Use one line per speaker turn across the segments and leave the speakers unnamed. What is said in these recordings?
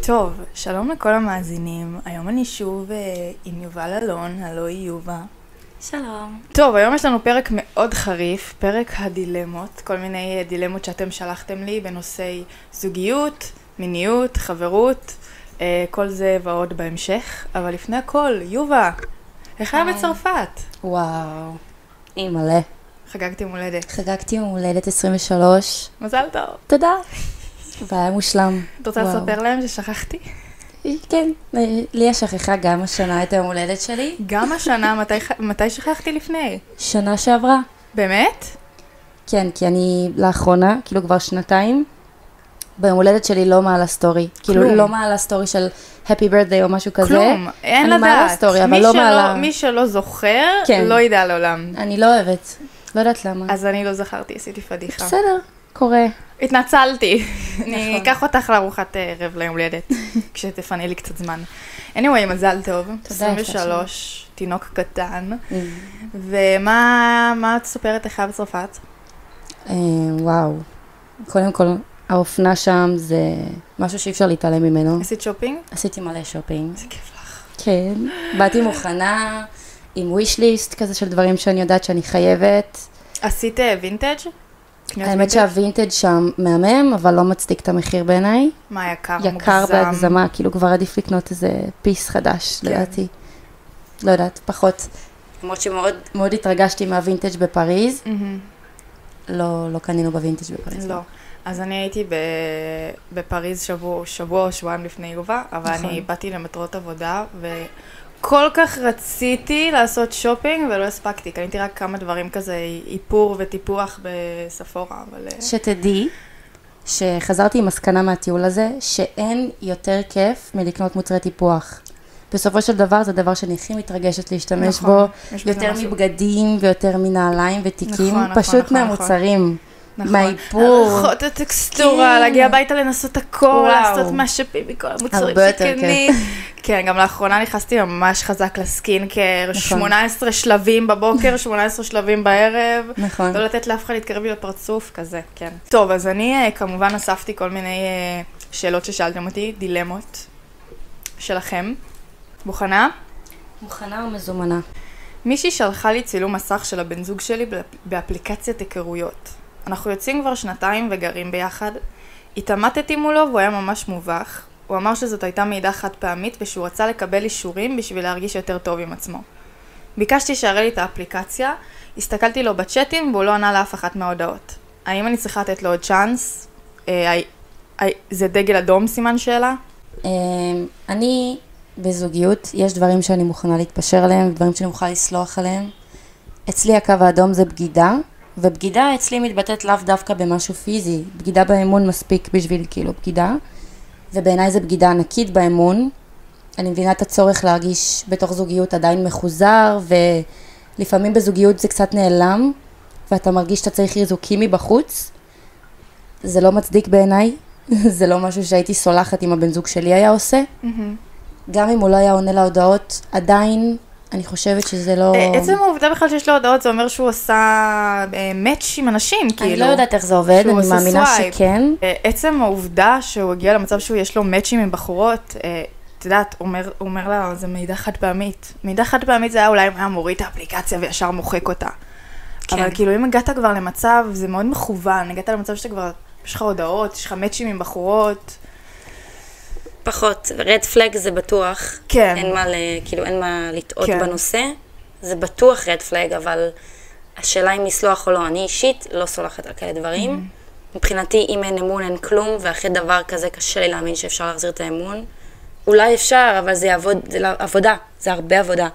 טוב, שלום לכל המאזינים. היום אני שוב אה, עם יובל אלון, הלוא היא יובה.
שלום.
טוב, היום יש לנו פרק מאוד חריף, פרק הדילמות, כל מיני אה, דילמות שאתם שלחתם לי בנושאי זוגיות, מיניות, חברות, אה, כל זה ועוד בהמשך. אבל לפני הכל, יובה, איך היה
היי.
בצרפת?
וואו, אימא'לה.
חגגתם הולדת.
חגגתי יום הולדת 23,
מזל טוב.
תודה. והיה מושלם.
את רוצה
וואו.
לספר להם ששכחתי?
כן, לי יש שכחה גם השנה את היום הולדת שלי.
גם השנה, מתי ח- מתי שכחתי לפני?
שנה שעברה.
באמת?
כן, כי אני לאחרונה, כאילו כבר שנתיים, ביום הולדת שלי לא מעלה סטורי. כאילו לא מעלה סטורי של Happy birthday או משהו כזה.
כלום, אין
אני
לדעת.
מעלה סטורי, אבל
מי
לא
שלא-
מעלה.
מי שלא זוכר,
כן.
לא ידע לעולם.
אני לא אוהבת. לא יודעת למה.
אז אני לא זכרתי, עשיתי פדיחה.
בסדר, נכון. קורה.
התנצלתי. אני אקח אותך לארוחת ערב ליום הולדת, כשתפנה לי קצת זמן. anyway, מזל טוב.
תודה, יפה
23, תינוק קטן. ומה מה את סופרת לך בצרפת?
אה, וואו. קודם כל, האופנה שם זה משהו שאי אפשר להתעלם ממנו.
עשית שופינג?
עשיתי מלא שופינג.
איזה כיף לך.
כן. באתי מוכנה עם וויש ליסט כזה של דברים שאני יודעת שאני חייבת.
עשית אה, וינטג'? קניות
האמת
וינטג'?
שהווינטג' שם מהמם, אבל לא מצדיק את המחיר בעיניי.
מה יקר?
יקר
אה, מוגזם?
בהגזמה, כאילו כבר עדיף לקנות איזה פיס חדש,
כן.
לדעתי. לא יודעת, פחות. למרות שמאוד מאוד התרגשתי מהווינטג' בפריז.
מהמם.
לא, לא קנינו בווינטג' בפריז.
לא. אז אני הייתי ב... בפריז שבוע, שבוע או שבועיים לפני יובה, אבל נכון.
נכון.
אני באתי למטרות עבודה, וכל כך רציתי לעשות שופינג ולא הספקתי. קניתי רק כמה דברים כזה, איפור וטיפוח בספורה, אבל... אה,
שתדעי שחזרתי עם מסקנה מהטיול הזה, שאין יותר כיף מלקנות מוצרי טיפוח. בסופו של דבר זה הדבר שאני הכי מתרגשת להשתמש
נכון,
נכון,
יש בזה
בו, יותר
משהו.
מבגדים ויותר מנעליים ותיקים,
נכון, נכון,
פשוט
נכון,
מהמוצרים,
נכון.
מהאיפור,
הלכות הטקסטורה,
כן.
להגיע הביתה לנסות הכל,
וואו.
לעשות משאפים מכל המוצרים
הרבה יותר
שקני. כן, גם לאחרונה נכנסתי ממש חזק לסקין, כ-
נכון.
18 שלבים בבוקר, 18 שלבים בערב.
נכון,
לא לתת לאף אחד להתקרב לי לפרצוף, כזה, כן. טוב, אז אני אה, כמובן אספתי כל מיני אה, שאלות ששאלתם אותי, דילמות שלכם. מוכנה?
מוכנה או מזומנה?
מישהי שלחה לי צילום מסך של הבן זוג שלי באפ- באפליקציית היכרויות. אנחנו יוצאים כבר שנתיים וגרים ביחד. התעמתתי מולו והוא היה ממש מובך. הוא אמר שזאת הייתה מעידה חד פעמית ושהוא רצה לקבל אישורים בשביל להרגיש יותר טוב עם עצמו. ביקשתי שיראה לי את האפליקציה, הסתכלתי לו בצ'אטים והוא לא ענה לאף אחת מההודעות. האם אני צריכה לתת לו עוד צ'אנס? אה, הי- הי- זה דגל אדום סימן שאלה?
אמ, אני בזוגיות, יש דברים שאני מוכנה להתפשר עליהם, דברים שאני מוכנה לסלוח עליהם. אצלי הקו האדום זה בגידה, ובגידה אצלי מתבטאת לאו דווקא במשהו פיזי, בגידה באמון מספיק בשביל כאילו בגידה, ובעיניי זו בגידה ענקית באמון. אני מבינה את הצורך להרגיש בתוך זוגיות עדיין מחוזר, ולפעמים בזוגיות זה קצת נעלם, ואתה מרגיש שאתה צריך ריזוקים מבחוץ. זה לא מצדיק בעיניי, זה לא משהו שהייתי סולחת אם הבן זוג שלי היה עושה. גם אם הוא לא היה עונה להודעות, עדיין אני חושבת שזה לא...
אה, עצם העובדה בכלל שיש לו הודעות זה אומר שהוא עשה אה, מאץ' עם אנשים, כאילו.
אני לא יודעת איך זה עובד,
שהוא
אני
עושה
מאמינה
סווייפ.
שכן.
אה, עצם העובדה שהוא הגיע למצב שהוא יש לו מאצ'ים עם בחורות, אה, את יודעת, אומר, אומר לה, זה מידע חד פעמית. מידע חד פעמית זה היה אולי אם היה מוריד את האפליקציה וישר מוחק אותה. כן. אבל כאילו אם הגעת כבר למצב, זה מאוד מכוון, הגעת למצב שאתה כבר, יש לך הודעות, יש לך מאצ'ים עם בחורות.
פחות, רד פלג זה בטוח.
כן.
אין מה, ל, כאילו, אין מה לטעות
כן.
כן. בנושא. זה בטוח רד פלג, אבל השאלה אם לסלוח או לא. אני אישית לא סולחת על כאלה דברים. מבחינתי, אם אין אמון, אין כלום, ואחרי דבר כזה קשה לי להאמין שאפשר להחזיר את האמון. אולי אפשר, אבל זה יעבוד, זה לא- עבודה, זה הרבה עבודה.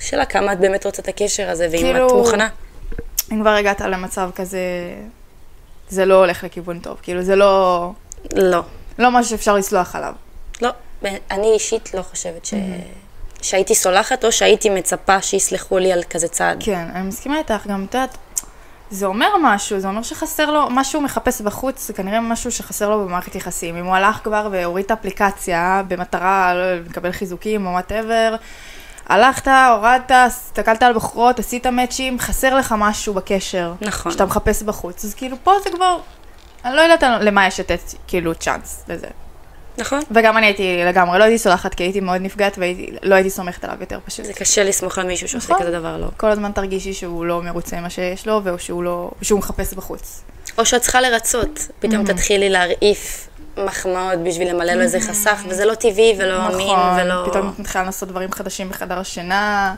שאלה כמה את באמת רוצה את הקשר הזה, ואם
כאילו-
את מוכנה.
אם כבר הגעת למצב כזה, זה לא הולך לכיוון טוב, כאילו זה לא,
לא.
לא משהו שאפשר לסלוח עליו.
לא, ב- אני אישית לא חושבת ש... שהייתי סולחת או שהייתי מצפה שיסלחו לי על כזה צעד.
כן, אני מסכימה איתך, גם את יודעת, זה אומר משהו, זה אומר שחסר לו, מה שהוא מחפש בחוץ, זה כנראה משהו שחסר לו במערכת יחסים. אם הוא הלך כבר והוריד את האפליקציה במטרה לא, יודעת, לקבל חיזוקים או וואטאבר, הלכת, הורדת, הסתכלת על בחורות, עשית מאצ'ים, חסר לך משהו בקשר.
נכון.
שאתה מחפש בחוץ, אז כאילו פה זה כבר, אני לא יודעת למה יש לתת כאילו צ'אנס לזה.
נכון.
וגם אני הייתי לגמרי, לא הייתי סולחת, כי הייתי מאוד נפגעת ולא הייתי סומכת עליו יותר פשוט.
זה קשה לסמוך על מישהו שעושה
נכון.
כזה דבר, לא.
כל הזמן תרגישי שהוא לא מרוצה ממה שיש לו, והוא שהוא לא, שהוא מחפש בחוץ.
או שאת צריכה לרצות, פתאום
Mm.
תתחילי להרעיף מחמאות בשביל למלא לו איזה חסך, וזה לא טבעי ולא אמין ולא...
נכון, פתאום את מתחילה לעשות דברים חדשים בחדר השינה.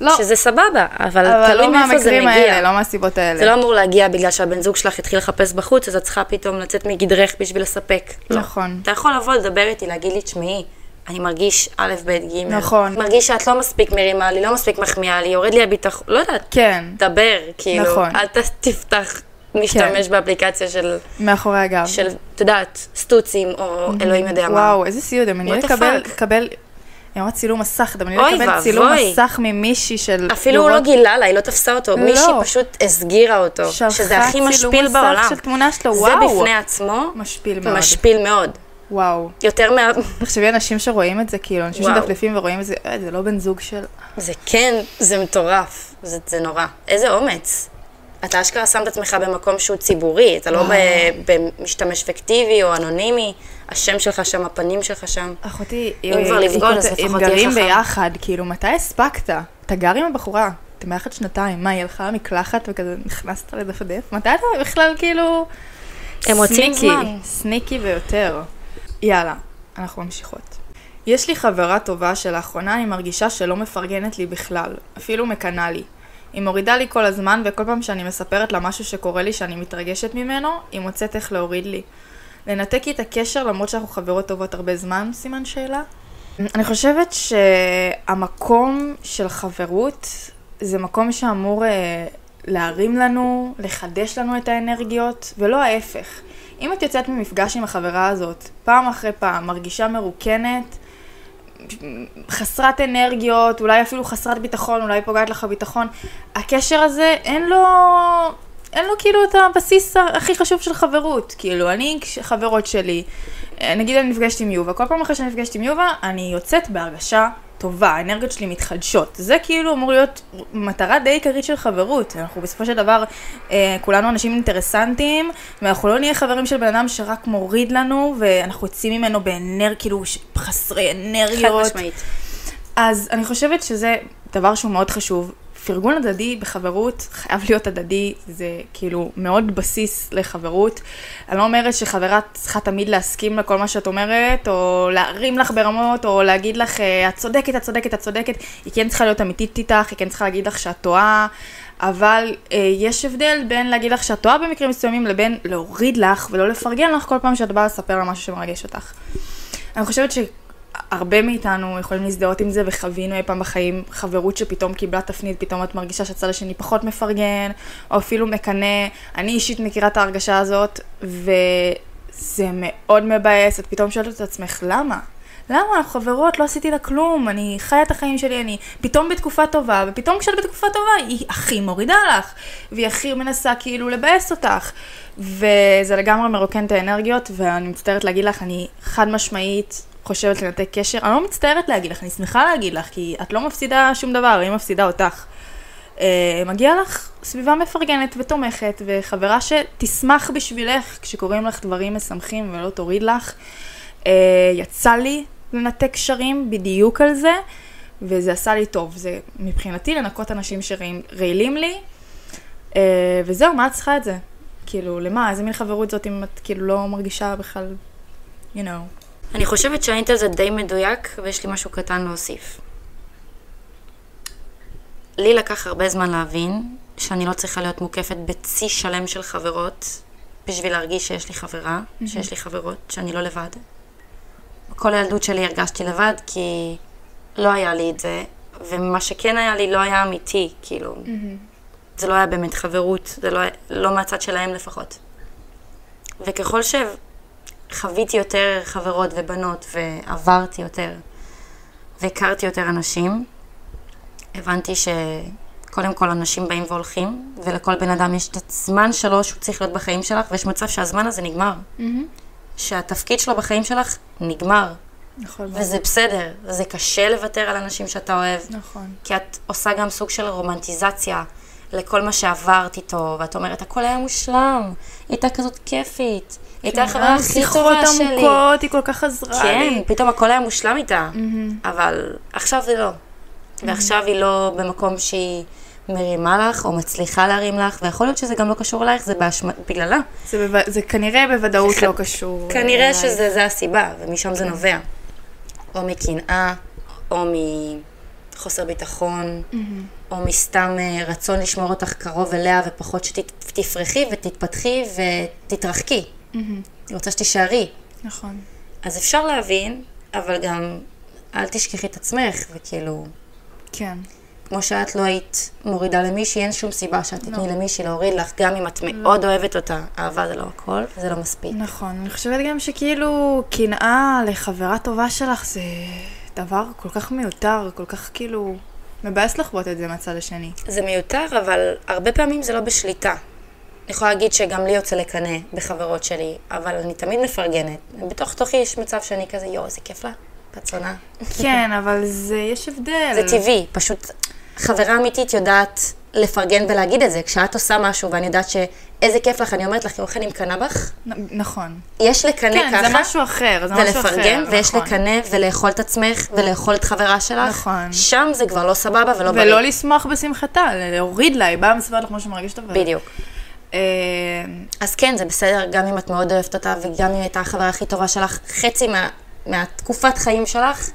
לא,
שזה סבבה, אבל
אבל
תלוי
לא
מאיפה זה
מהמקרים האלה,
מגיע.
לא מהסיבות האלה.
זה לא אמור להגיע בגלל שהבן זוג שלך התחיל לחפש בחוץ, אז את צריכה פתאום לצאת מגדרך בשביל לספק. לא.
נכון.
אתה יכול לבוא לדבר איתי, להגיד לי, תשמעי, אני מרגיש א', ב', ג'.
נכון.
מרגיש שאת לא מספיק מרימה לי, לא מספיק מחמיאה לי, יורד לי הביטחון, לא יודעת.
כן,
דבר, כאילו.
נכון. כן.
אל ת- תפתח, משתמש באפליקציה של,
מאחורי הגב.
של, את יודעת, סטוצים, או אלוהים יודע מה.
וואו, איזה סיוט, דמייני
What the
לקבל,
fuck?
לקבל, היא אמרה צילום מסך, דמייני
אוי
לקבל
ואבוי.
צילום מסך ממישהי של...
אפילו הוא לא
לראות-
גילה לה, היא לא תפסה אותו,
לא.
מישהי פשוט הסגירה אותו,
שלחה
שזה הכי
צילום
משפיל
מסך
בעולם.
של תמונה שלו,
זה
וואו.
בפני עצמו,
משפיל מאוד.
משפיל מאוד.
וואו.
יותר מה...
תחשבי, אנשים שרואים את זה, כאילו, אנשים
וואו.
שדפדפים ורואים את זה, "אה, זה לא בן זוג של...
זה כן, זה מטורף, זה, זה נורא. איזה אומץ. אתה אשכרה שם את עצמך במקום שהוא ציבורי, אתה לא ב- במשתמש פיקטיבי או אנונימי, השם שלך שם, הפנים שלך שם.
אחותי, אה,
אם כבר לבגוד, אז לפחות
הם
תהיה
גרים
חכם.
ביחד, כאילו, מתי הספקת? אתה גר עם הבחורה, אתם ביחד שנתיים, מה, היא הלכה למקלחת וכזה נכנסת לדפדף? מתי אתה בכלל, כאילו...
הם מוצאים
סניקי,
זמן.
סניקי ביותר. יאללה, אנחנו ממשיכות. יש לי חברה טובה שלאחרונה אני מרגישה שלא מפרגנת לי בכלל, אפילו מקנאה לי. היא מורידה לי כל הזמן, וכל פעם שאני מספרת לה משהו שקורה לי שאני מתרגשת ממנו, היא מוצאת איך להוריד לי. לנתק לי את הקשר למרות שאנחנו חברות טובות הרבה זמן, סימן שאלה? אני חושבת שהמקום של חברות זה מקום שאמור אה, להרים לנו, לחדש לנו את האנרגיות, ולא ההפך. אם את יוצאת ממפגש עם החברה הזאת, פעם אחרי פעם, מרגישה מרוקנת, חסרת אנרגיות, אולי אפילו חסרת ביטחון, אולי פוגעת לך ביטחון, הקשר הזה אין לו... אין לו כאילו את הבסיס ה- הכי חשוב של חברות. כאילו, אני, כש- חברות שלי, אה, נגיד אני נפגשת עם יובה, כל פעם אחרי שאני נפגשת עם יובה, אני יוצאת בהרגשה טובה, האנרגיות שלי מתחדשות. זה כאילו אמור להיות מטרה די עיקרית של חברות. אנחנו בסופו של דבר, אה, כולנו אנשים אינטרסנטים, ואנחנו לא נהיה חברים של בן אדם שרק מוריד לנו, ואנחנו יוצאים ממנו באנרגיה, כאילו, ש- חסרי
חד
אנרגיות.
משמעית.
אז אני חושבת שזה דבר שהוא מאוד חשוב. פרגון הדדי בחברות חייב להיות הדדי, זה כאילו מאוד בסיס לחברות. אני לא אומרת שחברה צריכה תמיד להסכים לכל מה שאת אומרת, או להרים לך ברמות, או להגיד לך, אה, את צודקת, את צודקת, את צודקת. היא כן צריכה להיות אמיתית איתך, היא כן צריכה להגיד לך שאת טועה, אבל אה, יש הבדל בין להגיד לך שאת טועה במקרים מסוימים, לבין להוריד לך ולא לפרגן לך כל פעם שאת באה לספר לה משהו שמרגש אותך. אני חושבת שהרבה מאיתנו יכולים להזדהות עם זה, וחווינו אי פעם בחיים חברות שפתאום קיבלה תפנית, פתאום את מרגישה שהצד השני פחות מפרגן, או אפילו מקנא. אני אישית מכירה את ההרגשה הזאת, וזה מאוד מבאס, את פתאום שואלת את עצמך, למה? למה? אנחנו חברות, לא עשיתי לה כלום, אני חיה את החיים שלי, אני פתאום בתקופה טובה, ופתאום כשאת בתקופה טובה, היא הכי מורידה לך, והיא הכי מנסה כאילו לבאס אותך. וזה לגמרי מרוקן את האנרגיות, ואני מצטערת להגיד לך, אני חד משמעית חושבת לנתק קשר. אני לא מצטערת להגיד לך, אני שמחה להגיד לך, כי את לא מפסידה שום דבר, היא מפסידה אותך. אה, מגיע לך סביבה מפרגנת ותומכת, וחברה שתשמח בשבילך כשקוראים לך דברים משמחים ולא תוריד לך. אה, יצא לי לנתק קשרים בדיוק על זה, וזה עשה לי טוב. זה מבחינתי לנקות אנשים שרעילים לי, אה, וזהו, מה את צריכה את זה? כאילו, למה? איזה מין חברות זאת אם את כאילו לא מרגישה בכלל, you know.
אני חושבת שהאינטל זה די מדויק, ויש לי משהו קטן להוסיף. לי לקח הרבה זמן להבין שאני לא צריכה להיות מוקפת בצי שלם של חברות בשביל להרגיש שיש לי חברה, שיש לי חברות, שאני לא לבד. כל הילדות שלי הרגשתי לבד, כי לא היה לי את זה, ומה שכן היה לי לא היה אמיתי, כאילו. זה לא היה באמת חברות, זה לא, היה- לא מהצד שלהם לפחות. וככל שחוויתי יותר חברות ובנות, ועברתי יותר, והכרתי יותר אנשים, הבנתי שקודם כל אנשים באים והולכים, ולכל בן אדם יש את הזמן שלו שהוא צריך להיות בחיים שלך, ויש מצב שהזמן הזה נגמר. Mm-hmm. שהתפקיד שלו בחיים שלך נגמר,
נכון.
וזה בסדר, זה קשה לוותר על אנשים שאתה אוהב,
נכון.
כי את עושה גם סוג של רומנטיזציה לכל מה שעברת איתו, ואת אומרת, הכל היה מושלם, היא הייתה כזאת כיפית, היא
כן,
הייתה החברה הכי טובה
שיחות
שלי.
עמוקות, אה, היא כל כך עזרה
כן,
לי.
פתאום הכל היה מושלם איתה, אבל עכשיו זה לא. ועכשיו היא לא במקום שהיא מרימה לך, או מצליחה להרים לך, ויכול להיות שזה גם לא קשור אלייך, זה באשמת, בגללה.
זה, בו... זה כנראה בוודאות
זה-
לא קשור.
כנראה
אליי.
שזה זה הסיבה, ומשם זה נובע. או מקנאה, או מחוסר ביטחון, או מסתם אה, רצון לשמור אותך קרוב אליה, ופחות שתפרחי ותתפתחי ותתרחקי. היא רוצה שתישארי.
נכון.
אז אפשר להבין, אבל גם אל תשכחי את עצמך, וכאילו,
כן.
כמו שאת לא היית מורידה למישהי, אין שום סיבה שאת תתני למישהי להוריד לך, גם אם את מאוד אוהבת אותה. אהבה זה לא הכל, זה לא מספיק.
נכון. אני חושבת גם שכאילו קנאה לחברה טובה שלך זה דבר כל כך מיותר, כל כך כאילו... מבאס לחוות את זה מהצד השני.
זה מיותר, אבל הרבה פעמים זה לא בשליטה. אני יכולה להגיד שגם לי יוצא לקנא בחברות שלי, אבל אני תמיד מפרגנת. בתוך תוכי יש מצב שאני כזה, יואו, איזה כיף לה, פצונה.
כן, אבל זה, יש הבדל.
זה טבעי, פשוט חברה אמיתית יודעת לפרגן ולהגיד את זה. כשאת עושה משהו ואני יודעת שאיזה כיף לך, אני אומרת לך, יואו, איך אני מקנאה בך?
נ- נכון.
יש לקנא
כן,
ככה.
זה משהו אחר, זה משהו אחר.
ולפרגן, ויש
נכון.
לקנא, ולאכול את עצמך, ולאכול את חברה שלך.
נכון.
שם זה כבר לא סבבה ולא בריא.
ולא לשמוח בשמחתה, להוריד לה, היא באה מסביבת לך משהו מרגש אותה. ו-
בדיוק.
אה,
אז כן, זה בסדר, גם אם את מאוד אוהבת אותה, וגם אם הייתה החברה הכי טובה שלך, חצי מה, מהתקופת חיים שלך,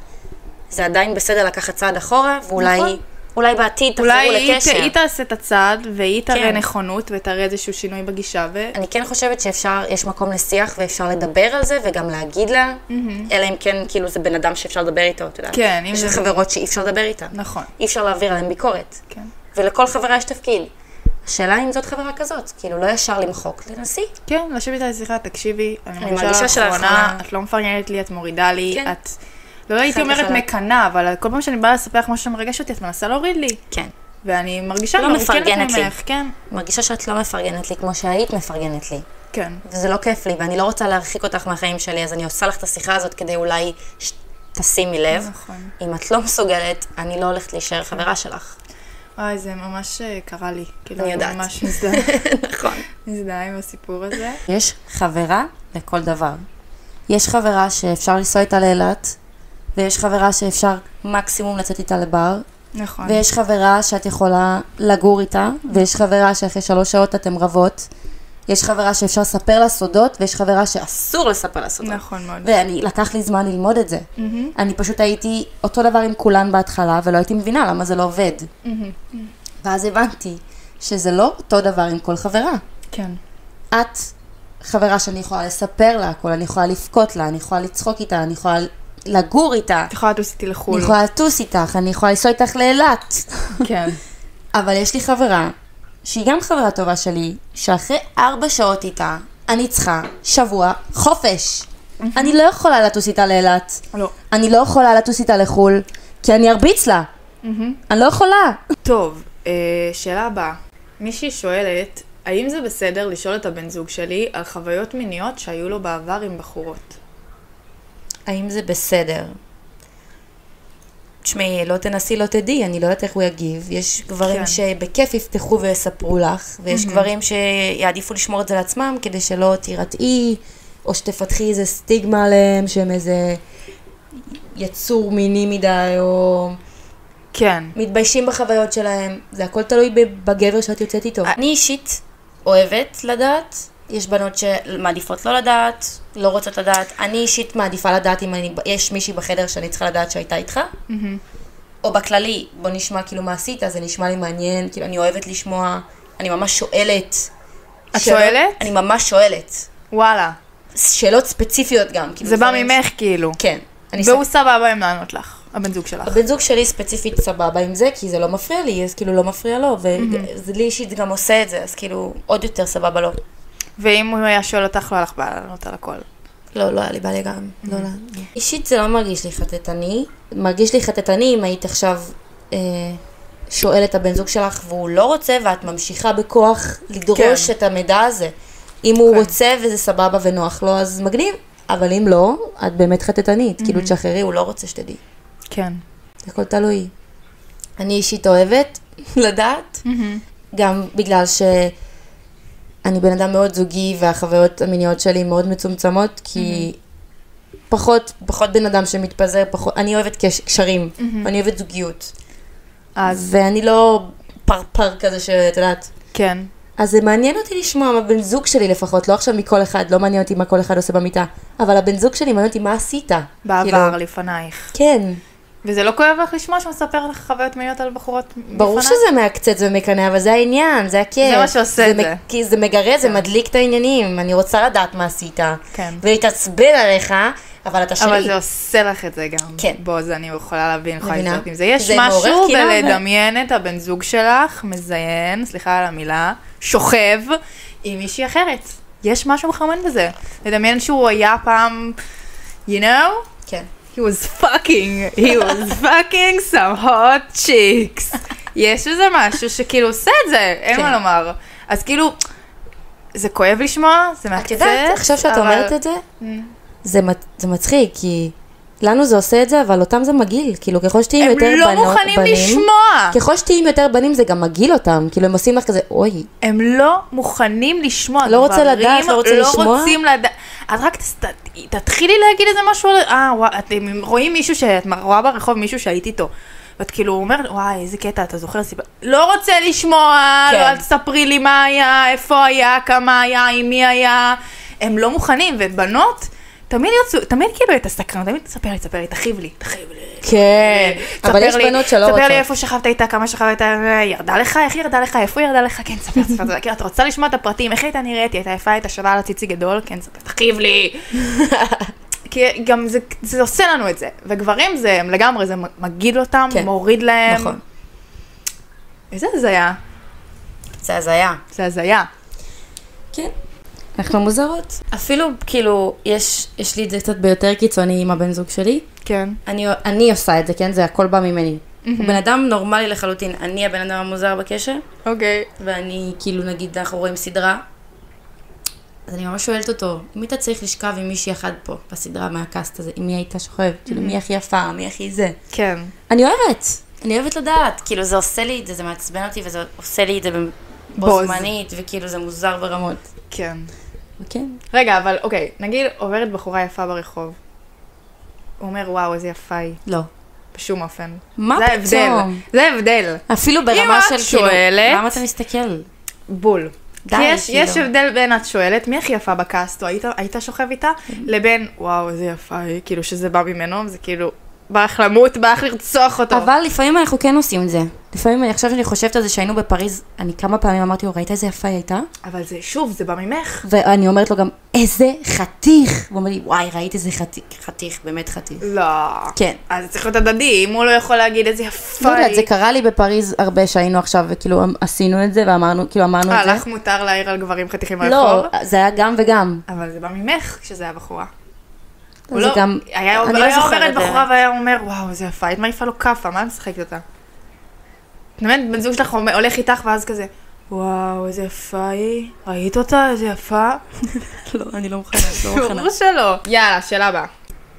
זה עדיין בסדר לקחת צעד אחורה, ואולי
נכון.
אולי בעתד תחזרו
אולי היא
לקשר.
ת- היא תעשה את הצעד, והיא תראה
כן.
נכונות, ותראה איזשהו שינוי בגישה, ו...
אני כן חושבת שאפשר, יש מקום לשיח, ואפשר לדבר על זה, וגם להגיד לה, אלא אם כן, כאילו, זה בן אדם שאפשר לדבר איתו, את יודעת.
כן, אם
יש
זה-
חברות שאי אפשר לדבר איתן.
נכון.
אי אפשר להעביר עליהן ביקורת.
כן.
ולכל חברה יש תפקיד. השאלה אם זאת חברה כזאת, כאילו, לא ישר למחוק, תנסי.
כן, לשבת איתה לשיחה, תקשיבי, אני
מרגישה
מרגישה
שלאחרונה-
לאחרונה, את לא מפרגנת לי, את מורידה לי,
כן.
את... לא הייתי אומרת
וחלק.
מקנאה, אבל כל פעם שאני באה לספר לך משהו שמרגש אותי, את מנסה להוריד לי.
כן.
ואני מרגישה
לא
מרוקנת
מפרגנת לי.
ממך, כן.
מרגישה שאת לא מפרגנת לי כמו שהיית מפרגנת לי.
כן.
וזה לא כיף לי, ואני לא רוצה להרחיק אותך מהחיים שלי, אז אני עושה לך את השיחה הזאת כדי אולי ש- תשימי לב.
נכון.
אם את לא מסוגלת, אני לא הולכת להישאר חברה שלך.
אוי, זה ממש אה, קרה לי. כאילו,
אני יודעת.
ממש מזדהה-
נכון.
מזדהה עם הסיפור הזה.
יש חברה לכל דבר. יש חברה שאפשר לנסוע איתה לאילת, ויש חברה שאפשר מקסימום לצאת איתה לבר,
נכון.
ויש חברה שאת יכולה לגור איתה, ויש חברה שאחרי שלוש שעות אתן רבות, יש חברה שאפשר לספר לה סודות, ויש חברה שאסור לספר לה סודות.
נכון מאוד.
ואני, לקח לי זמן ללמוד את זה. אני פשוט הייתי אותו דבר עם כולן בהתחלה, ולא הייתי מבינה למה זה לא עובד. ואז הבנתי שזה לא אותו דבר עם כל חברה.
כן.
את חברה שאני יכולה לספר לה הכל, אני יכולה לבכות לה, אני יכולה לצחוק איתה, אני יכולה לגור איתה,
את יכולה לטוס איתי
אני
לחו"ל.
יכולה לטוס איתך, אני יכולה לנסוע איתך לאילת.
כן.
אבל יש לי חברה, שהיא גם חברה טובה שלי, שאחרי ארבע שעות איתה, אני צריכה שבוע חופש. אני לא יכולה לטוס איתה לאילת.
לא.
אני לא יכולה לטוס איתה לחו"ל, כי אני ארביץ לה. אני לא יכולה.
טוב, אה, שאלה הבאה. מישהי שואלת, האם זה בסדר לשאול את הבן זוג שלי על חוויות מיניות שהיו לו בעבר עם בחורות?
האם זה בסדר?
תשמעי, לא תנסי, לא תדעי, אני לא יודעת איך הוא יגיב. יש גברים
כן.
שבכיף יפתחו ויספרו לך, ויש גברים שיעדיפו לשמור את זה לעצמם, כדי שלא תירתעי, או שתפתחי איזה סטיגמה עליהם, שהם איזה יצור מיני מדי, או
כן.
מתביישים בחוויות שלהם. זה הכל תלוי ב- בגבר שאת יוצאת איתו.
אני אישית אוהבת לדעת, יש בנות שמעדיפות לא לדעת, לא רוצות לדעת. אני אישית מעדיפה לדעת אם אני, יש מישהי בחדר שאני צריכה לדעת שהייתה איתך. או בכללי, בוא נשמע כאילו מה עשית, זה נשמע לי מעניין, כאילו אני אוהבת לשמוע, אני ממש שואלת.
את
שאלות-
שואלת?
אני ממש שואלת.
וואלה.
שאלות ספציפיות גם. כאילו
זה בא
דברים ש-
ממך כאילו.
כן. אני
והוא סבבה עם לענות לך, הבן זוג שלך.
הבן זוג שלי ספציפית סבבה עם זה, כי זה לא מפריע לי, אז כאילו לא מפריע לו, ולי אישית זה גם עושה את זה, אז כאילו עוד יותר סבבה לו.
ואם הוא היה שואל אותך, לא היה לך בעיה לענות על הכל.
לא, לא היה לי בעיה גם. לא, לא. אישית זה לא מרגיש לי חטטני. מרגיש לי חטטני אם היית עכשיו אה, שואלת את הבן זוג שלך והוא לא רוצה, ואת ממשיכה בכוח לדרוש
כן.
את המידע הזה. אם הוא
כן.
רוצה וזה סבבה ונוח לו, אז מגניב. אבל אם לא, את באמת חטטנית. כאילו, תשחררי, הוא לא רוצה שתדעי.
כן. Mm-hmm.
זה הכל תלוי. אני אישית אוהבת לדעת. גם בגלל שאני בן אדם מאוד זוגי והחוויות המיניות שלי מאוד מצומצמות, כי פחות, פחות בן אדם שמתפזר, פחות, אני אוהבת קש, קשרים, אני אוהבת זוגיות.
אז
ואני לא פרפר כזה שאת יודעת.
כן.
אז זה מעניין אותי לשמוע מה בן זוג שלי לפחות, לא עכשיו מכל אחד, לא מעניין אותי מה כל אחד עושה במיטה, אבל הבן זוג שלי מעניין אותי מה עשית. כאילו,
בעבר, לפנייך.
כן,
וזה לא כואב לך לשמוע שהוא מספר לך חוויות מיניות על בחורות מפנייך?
ברור שזה מעקצץ ומקנא, אבל זה העניין, זה הכיף.
זה מה שעושה את
מ-
זה.
כי זה מגרה, זה מדליק את העניינים, אני רוצה לדעת מה עשית.
כן.
ולהתעצבן עליך, אבל אתה שלי.
אבל זה עושה לך את זה גם.
כן.
בוא, אז אני יכולה להבין, יכולה
מבינה?
לזרוק עם זה. יש
זה מעורר כאילו
משהו
קנאה, אבל-
בלדמיין את הבן זוג שלך, מזיין, סליחה על המילה, שוכב, עם מישהי אחרת. יש משהו מחרמן בזה. לדמיין שהוא היה פעם, you know?
כן.
He was fucking, he was fucking some hot chicks. יש איזה משהו שכאילו עושה את זה, אין מה
כן.
לומר. אז כאילו, זה כואב לשמוע, זה מעקצץ,
את יודעת, עכשיו שאת
אבל- Mm.
אומרת את זה, זה מצ- זה מצחיק, כי לנו זה עושה את זה, אבל אותם זה מגעיל. כאילו, ככל שתהיי עם
הם
יותר
לא
בנות- בנים...
מוכנים לשמוע.
ככל שתהיי עם יותר בנים, זה גם מגעיל אותם. כאילו, הם עושים לך כזה, אוי,
הם לא מוכנים לשמוע
לא רוצה
דברים,
לדעת, לא רוצה לשמוע?
לא רוצים לדעת. את רק תס- ת- תתחילי להגיד איזה משהו, על- אה, וואי, אתם רואים מישהו, שאת רואה ברחוב מישהו שהיית איתו. ואת כאילו אומרת, וואי, איזה קטע, אתה זוכר סיבה? לא רוצה לשמוע,
כן.
לא, אל תספרי לי מה היה, איפה היה, כמה היה, עם מי היה. הם לא מוכנים, ובנות, תמיד ירצו, תמיד כאילו את הסקרנות, תמיד תספר לי, תספר לי, תכאיב לי, תכאיב לי.
כן. אבל
ספר
יש
לי-
בנות שלא
ספר לי
רוצות.
איפה שכבת איתה, כמה שכבת איתה, אה, ירדה לך, איך היא ירדה לך, איפה היא ירדה לך, כן, ספר, ספר, ספר, כאילו, את רוצה לשמוע את הפרטים, איך הייתה נראית, היא הייתה יפה, הייתה שווה על הציצי גדול, כן, ספר, תכאיב לי. כי גם זה, זה עושה לנו את זה, וגברים זה, הם לגמרי, זה מגעיל אותם,
כן.
מוריד להם.
נכון.
איזה הזיה,
זה הזיה.
זה הזיה.
כן. אנחנו מוזרות. אפילו, כאילו, יש, יש לי את זה קצת ביותר קיצוני עם הבן זוג שלי.
כן.
אני, אני עושה את זה, כן? זה הכל בא ממני. הוא בן אדם נורמלי לחלוטין. אני הבן אדם המוזר בקשר,
אוקיי.
ואני, כאילו, נגיד, אנחנו רואים סדרה, אז אני ממש שואלת אותו, אם היית צריך לשכב עם מישהי אחת פה, בסדרה, מהקאסט הזה, עם מי היית שוכב? כאילו, מי הכי יפה, מי הכי זה?
כן.
אני אוהבת, אני אוהבת לדעת. כאילו, זה עושה לי את זה, זה מעצבן אותי, וזה עושה לי את זה
בו
בו
בוז.
זמנית, וכאילו, זה מוזר ברמות.
כן.
כן.
רגע, אבל אוקיי, נגיד עוברת בחורה יפה ברחוב. הוא אומר, וואו, איזה יפה היא.
לא.
בשום אופן.
מה
זה ההבדל.
פתאום?
זה ההבדל.
אפילו
אם
ברמה
את
של כאילו,
שואלת-
למה אתה מסתכל?
בול.
די,
כי יש,
כאילו.
יש הבדל בין את שואלת מי הכי יפה בקאסט, או היית, היית שוכב איתה,
כן.
לבין וואו איזה יפה היא, כאילו שזה בא ממנו, זה כאילו בא לך למות, בא לך לרצוח אותו.
אבל לפעמים אנחנו כן עושים את זה. לפעמים, אני- עכשיו שאני חושבת על זה שהיינו בפריז, אני כמה פעמים אמרתי לו, ראית איזה יפה היא הייתה?
אבל זה שוב, זה בא ממך.
ואני אומרת לו גם, איזה חתיך! הוא אומר לי, וואי, ראית איזה חתיך, חתיך, באמת חתיך.
לא.
כן.
אז זה צריך להיות הדדי, אם הוא לא יכול להגיד איזה יפה
לא יודעת, זה
היא.
קרה לי בפריז הרבה שהיינו עכשיו, וכאילו אמ, עשינו את זה, ואמרנו, כאילו אמרנו
אה,
את זה.
לך מותר להעיר על גברים חתיכים ברחוב?
לא, זה היה גם וגם.
אבל זה בא ממך כשזה היה בחורה. הוא
זה
לא-
גם,
היה
אני לא
היה
זוכרת.
עוברת
את זה.
בחורה והיה אומר, וואו, איזה יפה, היית מעיפה לו כאפה, מה את משחקת אותה? את אומרת, בן זוג שלך אומר- הולך איתך ואז כזה, וואו, איזה יפה היא, ראית אותה, איזה יפה?
לא, אני לא מוכנה, לא מוכנה.
ברור שלא. יאללה, שאלה הבאה.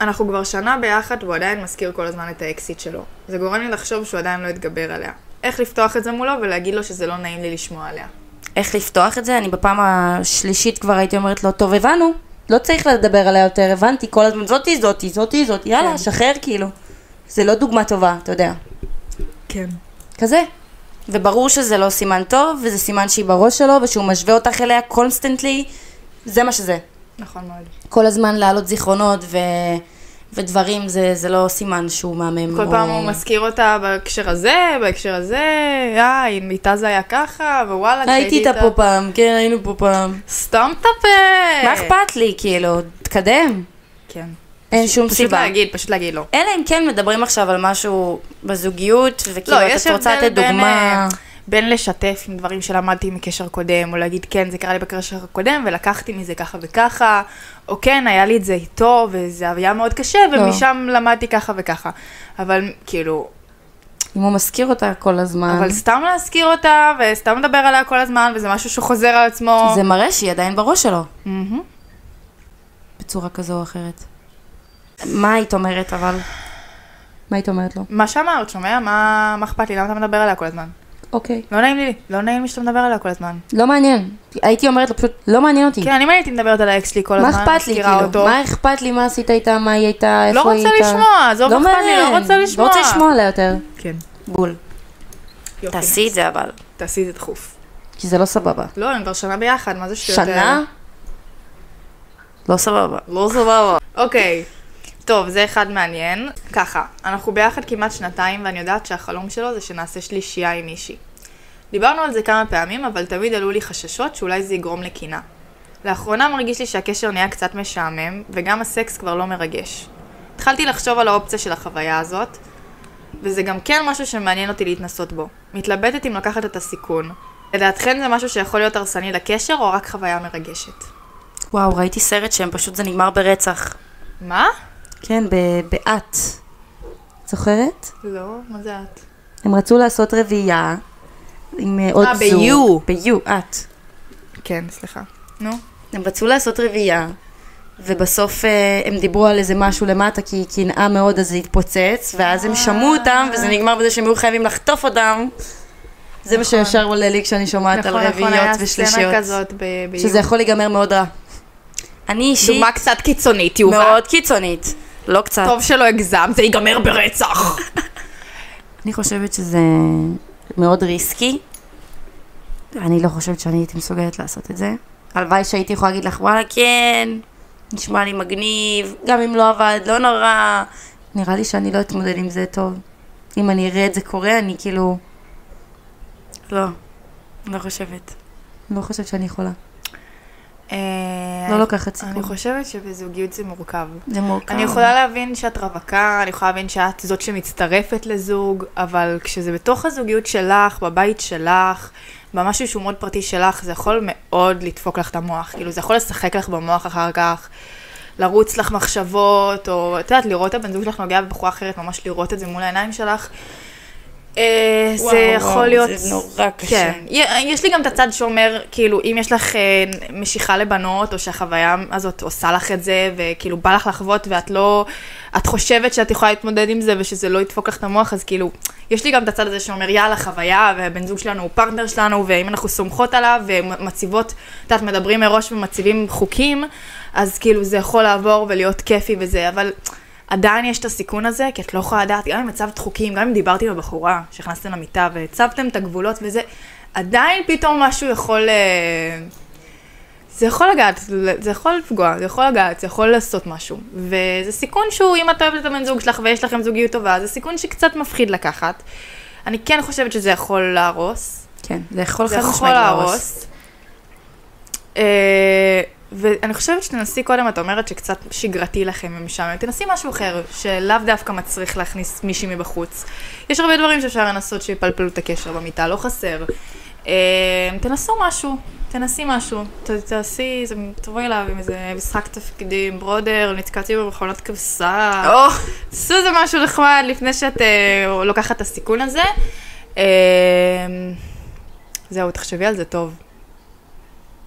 אנחנו כבר שנה ביחד והוא עדיין מזכיר כל הזמן את האקסיט שלו. זה גורם לי לחשוב שהוא עדיין לא התגבר עליה. איך לפתוח את זה מולו ולהגיד לו שזה לא נעים לי לשמוע עליה.
איך לפתוח את זה, אני בפעם השלישית כבר הייתי אומרת לו, טוב, הבנו, לא צריך לדבר עליה יותר, הבנתי כל הזמן, זאתי, זאתי, זאתי, זאתי, יאללה, שחרר כאילו. זה לא דוגמה טובה, אתה יודע.
כן.
כזה. וברור שזה לא סימן טוב, וזה סימן שהיא בראש שלו, ושהוא משווה אותך אליה קונסטנטלי, זה מה שזה.
נכון מאוד.
כל הזמן להעלות זיכרונות ו... ודברים, זה, זה לא סימן שהוא מהמם.
כל
או-
פעם הוא מזכיר אותה בהקשר הזה, בהקשר הזה, אה, אם איתה זה היה ככה, ווואלה,
הייתי
כשהייתי
איתה פה פעם, כן, היינו פה פעם.
סתום את הפה. אה.
מה אכפת לי, כאילו, תקדם.
כן.
אין שום
פשוט
סיבה.
להגיד, פשוט להגיד לא.
אלא אם כן מדברים עכשיו על משהו בזוגיות, וכאילו,
לא,
לא,
יש
את רוצה
הבדל
לתת דוגמה...
בין, אה, בין לשתף עם דברים שלמדתי מקשר קודם, או להגיד כן, זה קרה לי בקשר הקודם, ולקחתי מזה ככה וככה, או כן, היה לי את זה איתו, וזה היה מאוד קשה,
לא.
ומשם למדתי ככה וככה. אבל כאילו,
אם הוא מזכיר אותה כל הזמן,
אבל סתם להזכיר אותה, וסתם לדבר עליה כל הזמן, וזה משהו שחוזר על עצמו.
זה מראה שהיא עדיין בראש שלו,
מהמם.
בצורה כזו או אחרת. מה היית אומרת, אבל? מה היית אומרת לו?
מה שאמרת, שומע? מה מה אכפת לי? למה אתה מדבר עליה כל הזמן?
אוקיי.
לא נעים לי, לא נעים לי שאתה מדבר עליה כל הזמן.
לא מעניין. הייתי אומרת לו פשוט, לא מעניין אותי.
כן, אם הייתי מדברת על האקס שלי כל
מה
הזמן,
אכפת לי,
מזכירה
כאילו?
אותו.
מה אכפת לי, מה עשית איתה, מה היא הייתה, איפה
לא
היא
רוצה
הייתה?
לשמוע, עזוב,
לא
אכפת לי, לא
מעניין.
רוצה לשמוע.
לא רוצה לשמוע עליה יותר.
כן,
בול.
יופי.
תעשי את זה אבל.
תעשי את זה דחוף.
כי זה לא סבבה.
לא, הם כבר שנה ביחד, מה זה שטויות האלה?
שנה?
לא סבבה.
לא סבבה. אוקיי. טוב, זה אחד מעניין. ככה, אנחנו ביחד כמעט שנתיים, ואני יודעת שהחלום שלו זה שנעשה שלישייה עם מישהי. דיברנו על זה כמה פעמים, אבל תמיד עלו לי חששות שאולי זה יגרום לקינה. לאחרונה מרגיש לי שהקשר נהיה קצת משעמם, וגם הסקס כבר לא מרגש. התחלתי לחשוב על האופציה של החוויה הזאת, וזה גם כן משהו שמעניין אותי להתנסות בו. מתלבטת אם לקחת את הסיכון. לדעתכן זה משהו שיכול להיות הרסני לקשר, או רק חוויה מרגשת.
וואו, ראיתי סרט שהם פשוט, זה נגמר ברצח.
מה?
כן, ב- באת. זוכרת?
לא, מה זה את?
הם רצו לעשות רביעייה עם אה, עוד
אה,
זוג.
ב-U.
ב-U, את.
כן, סליחה. נו.
הם רצו לעשות רביעייה, ובסוף אה, הם דיברו על איזה משהו למטה, כי היא קנאה מאוד, אז זה התפוצץ, ואז הם שמעו אותם, וזה נגמר בזה שהם היו חייבים לחטוף אותם. זה מה שישר עולה לי כשאני שומעת על רביעיות ושלישיות.
נכון, סצנה כזאת ב- ב-
שזה יכול להיגמר מאוד רע. אני אישית
דוגמה קצת קיצונית, יובל.
מאוד קיצונית. לא קצת.
טוב שלא הגזם, זה ייגמר ברצח.
אני חושבת שזה מאוד ריסקי. אני לא חושבת שאני הייתי מסוגלת לעשות את זה. הלוואי שהייתי יכולה להגיד לך, וואלה, כן, נשמע לי מגניב, גם אם לא עבד, לא נורא. נראה לי שאני לא אתמודד עם זה טוב. אם אני אראה את זה קורה, אני כאילו
לא. לא חושבת.
לא חושבת שאני יכולה.
אה,
לא לוקחת
אני
סיכון.
חושבת שבזוגיות זה מורכב.
זה מורכב.
אני יכולה להבין שאת רווקה, אני יכולה להבין שאת זאת שמצטרפת לזוג, אבל כשזה בתוך הזוגיות שלך, בבית שלך, במשהו שהוא מאוד פרטי שלך, זה יכול מאוד לדפוק לך את המוח. כאילו, זה יכול לשחק לך במוח אחר כך, לרוץ לך מחשבות, או את יודעת, לראות את הבן זוג שלך נוגע בבחורה אחרת, ממש לראות את זה מול העיניים שלך. אה,
וואו,
זה יכול
וואו,
להיות...
זה נורא קשה.
כן. י- יש לי גם את הצד שאומר, כאילו, אם יש לך אה, משיכה לבנות, או שהחוויה הזאת עושה לך את זה, וכאילו בא לך לחוות, ואת לא... את חושבת שאת יכולה להתמודד עם זה, ושזה לא ידפוק לך את המוח, אז כאילו, יש לי גם את הצד הזה שאומר, יאללה, חוויה, והבן זוג שלנו הוא פרטנר שלנו, ואם אנחנו סומכות עליו, ומציבות, את יודעת, מדברים מראש ומציבים חוקים, אז כאילו זה יכול לעבור ולהיות כיפי וזה, אבל... עדיין יש את הסיכון הזה, כי את לא יכולה לדעת, גם אם הצבת חוקים, גם אם דיברתי עם הבחורה, שהכנסתם למיטה והצבתם את הגבולות וזה, עדיין פתאום משהו יכול... אה, זה יכול לגעת, זה יכול לפגוע, זה יכול לגעת, זה יכול לעשות משהו. וזה סיכון שהוא, אם את אוהבת את הבן זוג שלך ויש לכם זוגיות טובה, זה סיכון שקצת מפחיד לקחת. אני כן חושבת שזה יכול להרוס,
כן, זה יכול
זה
חד
יכול
משמעית להרוס.
להרוס. אה, ואני חושבת שתנסי קודם, את אומרת שקצת שגרתי לכם ומשעמם, תנסי משהו אחר, שלאו דווקא מצריך להכניס מישהי מבחוץ. יש הרבה דברים שאפשר לנסות שיפלפלו את הקשר במיטה, לא חסר. אה, תנסו משהו, תנסי משהו, ת, תעשי, זה- תבואי אליו עם איזה משחק תפקידים, ברודר, נתקעתי במכונת כבשה.
או,
עשו איזה משהו נחמד לפני שאת אה, לוקחת את הסיכון הזה. אה, זהו, תחשבי על זה טוב.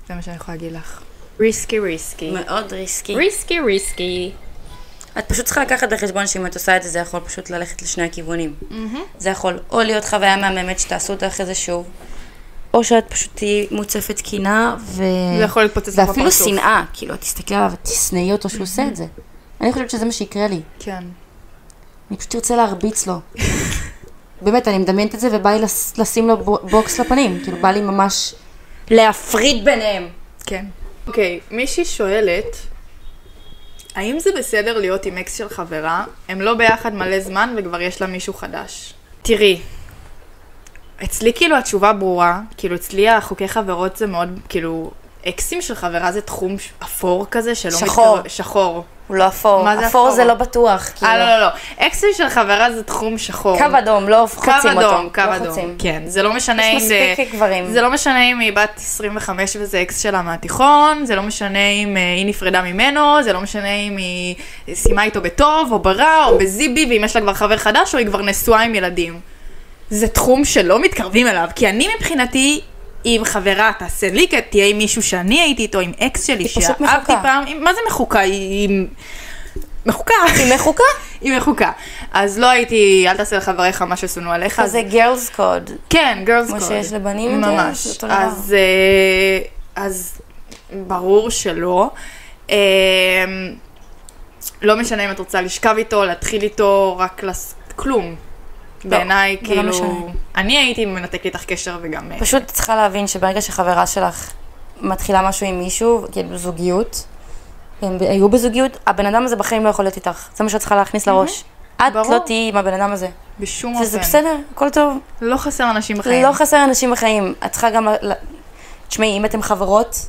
זה מה שאני יכולה להגיד לך. ריסקי ריסקי.
מאוד ריסקי.
ריסקי ריסקי.
את פשוט צריכה לקחת בחשבון שאם את עושה את זה, זה יכול פשוט ללכת לשני הכיוונים. זה יכול או להיות חוויה מהממת שתעשו אותה אחרי זה שוב, או שאת פשוט תהיי מוצפת קינה,
ו...
אה.
זה יכול להתפוצץ לך
ואפילו
בפרצוף.
שנאה, כאילו, את תסתכלי עליו, את תשנאי אותו שהוא עושה את זה. אני חושבת שזה מה שיקרה לי.
כן.
אני פשוט ארצה להרביץ לו. באמת, אני מדמיינת את זה ובא לי לס- לשים לו בו- בוקס לפנים. כאילו, בא לי ממש...
להפריד ביניהם.
כן. אוקיי, מישהי שואלת, האם זה בסדר להיות עם אקס של חברה? הם לא ביחד מלא זמן וכבר יש לה מישהו חדש. תראי, אצלי כאילו התשובה ברורה, כאילו אצלי החוקי חברות זה מאוד, כאילו, אקסים של חברה זה תחום ש- אפור כזה שלא
שחור.
מתקרב- שחור.
הוא לא אפור.
מה זה
אפור
אפור?
זה לא בטוח,
אה, לא,
כאילו.
לא, לא. אקסים של חברה זה תחום שחור.
קו אדום, לא חוצים
קו
אותו.
אדום, קו
לא
אדום.
חוצים.
כן, זה לא משנה אם
יש
זה...
מספיק גברים.
זה לא משנה אם היא בת 25 וזה אקס שלה מהתיכון, זה לא משנה אם אה, היא נפרדה ממנו, זה לא משנה אם היא סיימה איתו בטוב, או ברע, או בזיבי, ואם יש לה כבר חבר חדש, או היא כבר נשואה עם ילדים. זה תחום שלא מתקרבים אליו, כי אני מבחינתי, אם חברה תעשה לי, כי תהיה עם מישהו שאני הייתי איתו, עם אקס שלי,
פשוט
שאהבתי
מחוקה.
פעם, היא- מה זה מחוקה? היא... היא- מחוקה.
היא מחוקה?
היא מחוקה. אז לא הייתי, אל תעשה לחבריך מה ששונאו עליך. אז-
כזה גרלס קוד.
כן, גרלס
כמו
קוד.
שיש לבנים, אתה יודע,
ממש.
זה אותו דבר.
אז, אה, אז ברור שלא. אה, לא משנה אם את רוצה לשכב איתו, להתחיל איתו, רק לס... כלום. בעיניי,
זה לא
כאילו...
משנה.
אני הייתי מנתקת איתך קשר וגם... אה,
פשוט צריכה להבין שברגע שחברה שלך מתחילה משהו עם מישהו, כאילו זוגיות, הם ב- היו בזוגיות, הבן אדם הזה בחיים לא יכול להיות איתך. זה מה שאת צריכה להכניס לראש. את
ברור.
לא תהיי עם הבן אדם הזה.
בשום
וזה
אופן.
בסדר, הכל טוב.
לא חסר אנשים בחיים.
לא חסר אנשים בחיים. את צריכה גם... ל- ל- תשמעי, אם אתם חברות,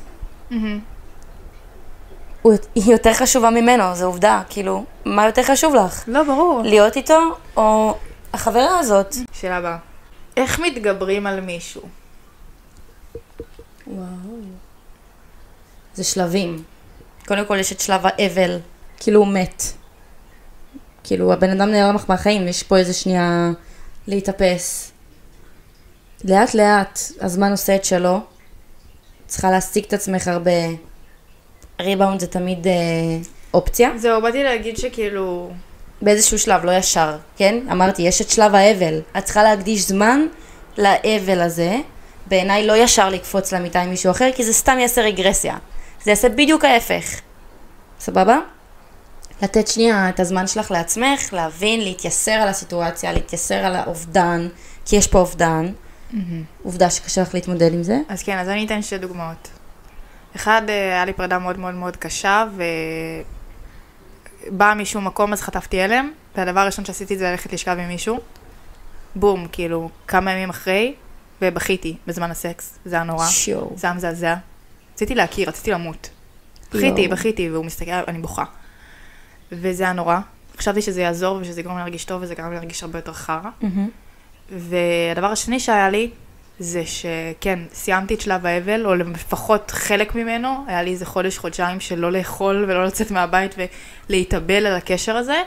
הוא- היא יותר חשובה ממנו, זו עובדה. כאילו, מה יותר חשוב לך?
לא, ברור.
להיות איתו, או החברה הזאת?
שאלה הבאה. איך מתגברים על מישהו?
זה שלבים. קודם כל יש את שלב האבל, כאילו הוא מת. כאילו הבן אדם נעלם לך מהחיים, יש פה איזה שנייה להתאפס. לאט לאט הזמן עושה את שלו. צריכה להשיג את עצמך הרבה. ריבאונד זה תמיד אה, אופציה.
זהו, באתי להגיד שכאילו...
באיזשהו שלב, לא ישר, כן? אמרתי, יש את שלב האבל. את צריכה להקדיש זמן לאבל הזה. בעיניי לא ישר לקפוץ למיטה עם מישהו אחר, כי זה סתם יעשה רגרסיה. זה יעשה בדיוק ההפך. סבבה? לתת שנייה את הזמן שלך לעצמך, להבין, להתייסר על הסיטואציה, להתייסר על האובדן, כי יש פה אובדן. עובדה שקשה לך להתמודד עם זה.
אז כן, אז אני אתן שתי דוגמאות. אחד, אה, היה לי פרידה מאוד מאוד מאוד קשה, ובאה משום מקום אז חטפתי הלם, והדבר הראשון שעשיתי זה ללכת לשכב עם מישהו. בום, כאילו, כמה ימים אחרי, ובכיתי בזמן הסקס, זה היה נורא.
שיואו.
זה היה מזעזע. רציתי להכיר, רציתי למות. בכיתי,
יואו.
בכיתי, והוא מסתכל, אני בוכה. וזה היה נורא. חשבתי שזה יעזור ושזה יגרום לי להרגיש טוב, וזה גרם לי להרגיש הרבה יותר חרא. והדבר השני שהיה לי, זה שכן, סיימתי את שלב האבל, או לפחות חלק ממנו, היה לי איזה חודש, חודשיים של לא לאכול ולא לצאת מהבית ולהתאבל על הקשר הזה.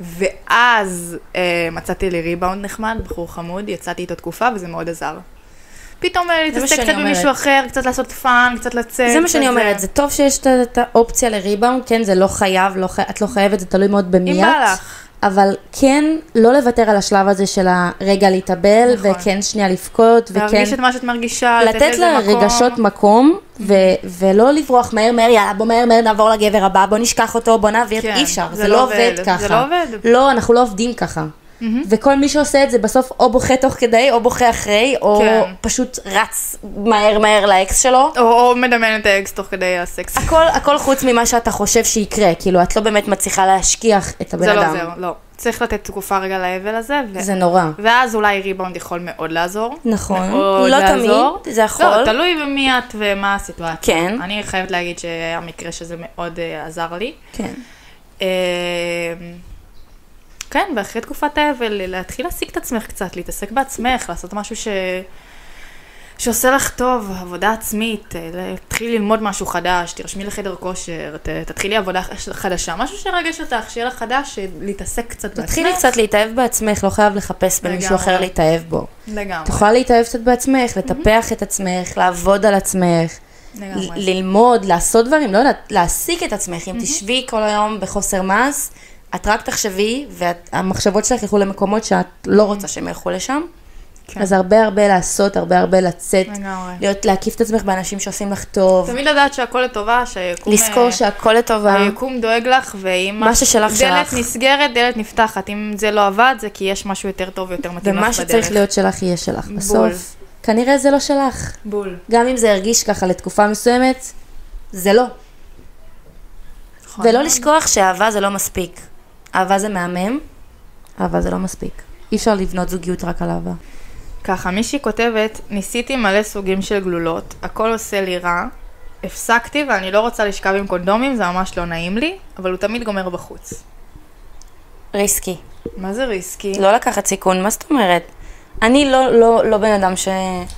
ואז אה, מצאתי לי ריבאונד נחמד, בחור חמוד, יצאתי איתו תקופה וזה מאוד עזר. פתאום אה,
זה מה
להתעסק
שאני
קצת במישהו
אומרת.
אחר, קצת לעשות פאן, קצת לצאת. אה,
זה מה
קצת
שאני אומרת, זה טוב שיש את- את האופציה לריבאונד, כן, זה לא חייב, לא חי... את לא חייבת, זה תלוי מאוד במי
אם
את.
בא לך.
אבל כן, לא לוותר על השלב הזה של הרגע להתאבל,
נכון.
נכון. וכן שנייה לבכות, וכן
להרגיש את מה שאת מרגישה,
כן. לתת
לזה מקום.
לרגשות מקום, ו- ולא לברוח מהר מהר, יאללה, בוא מהר מהר נעבור לגבר הבא, בוא נשכח אותו, בוא נעביר,
כן,
אי אפשר,
זה
זה,
לא
לא עובד,
עובד,
ככה.
זה לא עובד.
לא, אנחנו לא עובדים ככה. וכל מי שעושה את זה בסוף או בוכה תוך כדי, או בוכה אחרי, או
כן.
פשוט רץ מהר מהר לאקס שלו.
או, או מדמיין את האקס תוך כדי הסקס.
הכל, הכל חוץ ממה שאתה חושב שיקרה, כאילו, את לא באמת מצליחה להשכיח את הבן
זה לא
אדם.
עוזר, לא. צריך לתת תקופה רגע לאבל הזה. ו...
זה נורא.
ואז אולי ריבאונד יכול מאוד לעזור.
נכון.
מאוד
לא
לעזור.
תמיד, זה יכול.
לא, תלוי במי את ומה הסיטואציה.
כן.
אני חייבת להגיד שהיה מקרה שזה מאוד אה, עזר לי.
כן.
אה, כן, ואחרי תקופת האבל, להתחיל להשיג את עצמך קצת, להתעסק בעצמך, לעשות משהו ש... שעושה לך טוב, עבודה עצמית, אה, תתחילי ללמוד משהו חדש, תירשמי לחדר כושר, ת... תתחילי עבודה ח- חדשה, משהו שירגש אותך, שיהיה לך חדש, להתעסק קצת בעצמך.
תתחילי קצת להתאהב בעצמך, לא חייב לחפש במישהו
לגמרי.
אחר להתאהב בו. את
לגמרי,
יכולה להתאהב קצת בעצמך, לטפח את עצמך, לעבוד על עצמך, ל-
לגמרי.
ללמוד, לעשות דברים, לא יודעת, להעסיק את עצמך. אם תשבי כל היום בחוסר מעש, את רק תחשבי, והמחשבות שלך ילכו למקומות שאת לא רוצה שהם ילכו לשם.
כן.
אז הרבה הרבה לעשות, הרבה הרבה לצאת,
לגמרי.
להיות, להקיף את עצמך באנשים שעושים לך טוב,
תמיד לדעת שהכל לטובה, שהיקום...
לזכור
אה,
שהכל לטובה.
היקום דואג לך, ואם...
מה
את-
ששלך,
דלת
שלך.
נסגרת, דלת נפתחת. אם זה לא עבד, זה כי יש משהו יותר טוב ויותר מתאים לך בדרך.
ומה שצריך להיות שלך יהיה שלך
בול.
בסוף. כנראה זה לא שלך.
בול.
גם אם זה הרגיש ככה לתקופה מסוימת, זה לא.
נכון.
ולא לשכוח שאהבה זה לא מספיק. אהבה זה מהמם, אהבה זה לא מספיק. אי אפשר לבנות זוגיות רק על אהבה.
ככה, מישהי כותבת, ניסיתי מלא סוגים של גלולות, הכל עושה לי רע, הפסקתי ואני לא רוצה לשכב עם קונדומים, זה ממש לא נעים לי, אבל הוא תמיד גומר בחוץ.
ריסקי.
מה זה ריסקי?
לא לקחת סיכון, מה זאת אומרת? אני לא, לא, לא בן אדם ש...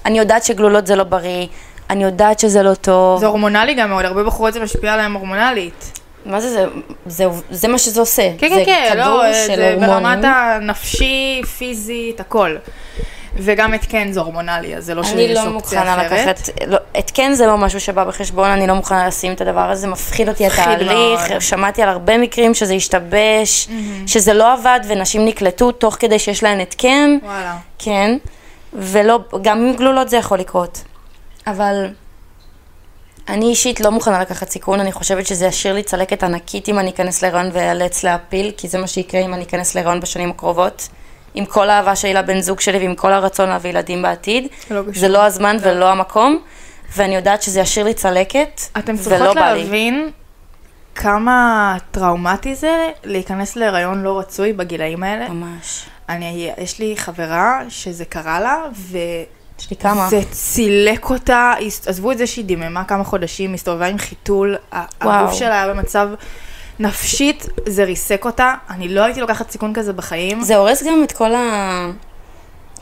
אני יודעת שגלולות זה לא בריא, אני יודעת שזה לא טוב.
זה הורמונלי גם מאוד, הרבה בחורות זה משפיע עליהן הורמונלית.
מה זה זה? זה, זה מה שזה עושה.
כן,
זה
כן, כן,
כדור
לא,
של
זה
הורמונים.
ברמת הנפשי, פיזית, הכל. וגם התקן זה הורמונלי, אז זה לא
אני
שיש
לא
אופציה
מוכנה
אחרת.
לקחת, לא, התקן זה לא משהו שבא בחשבון, אני לא מוכנה לשים את הדבר הזה, מפחיד אותי
מפחיד
התהליך,
מאוד.
שמעתי על הרבה מקרים שזה השתבש, שזה לא עבד ונשים נקלטו תוך כדי שיש להן התקן,
וואלה.
כן, ולא, גם עם גלולות זה יכול לקרות, אבל אני אישית לא מוכנה לקחת סיכון, אני חושבת שזה ישאיר לי צלקת ענקית אם אני אכנס להיריון ואיאלץ להפיל, כי זה מה שיקרה אם אני אכנס להיריון בשנים הקרובות. עם כל האהבה שלי לבן זוג שלי ועם כל הרצון להביא ילדים בעתיד,
לא
זה
קשור.
לא הזמן ולא המקום, ואני יודעת שזה ישאיר לי צלקת,
אתם
ולא
צריכות
לא בא לי.
להבין כמה טראומטי זה להיכנס להיריון לא רצוי בגילאים האלה.
אמ- ממש.
אני, יש לי חברה שזה קרה לה, ו...
יש לי כמה.
זה צילק אותה, הס- עזבו את זה שהיא דיממה כמה חודשים, הסתובבה עם חיתול, ה-
וואו.
הגוף שלה היה במצב נפשית, זה ריסק אותה, אני לא הייתי לוקחת סיכון כזה בחיים.
זה הורס גם את כל ה...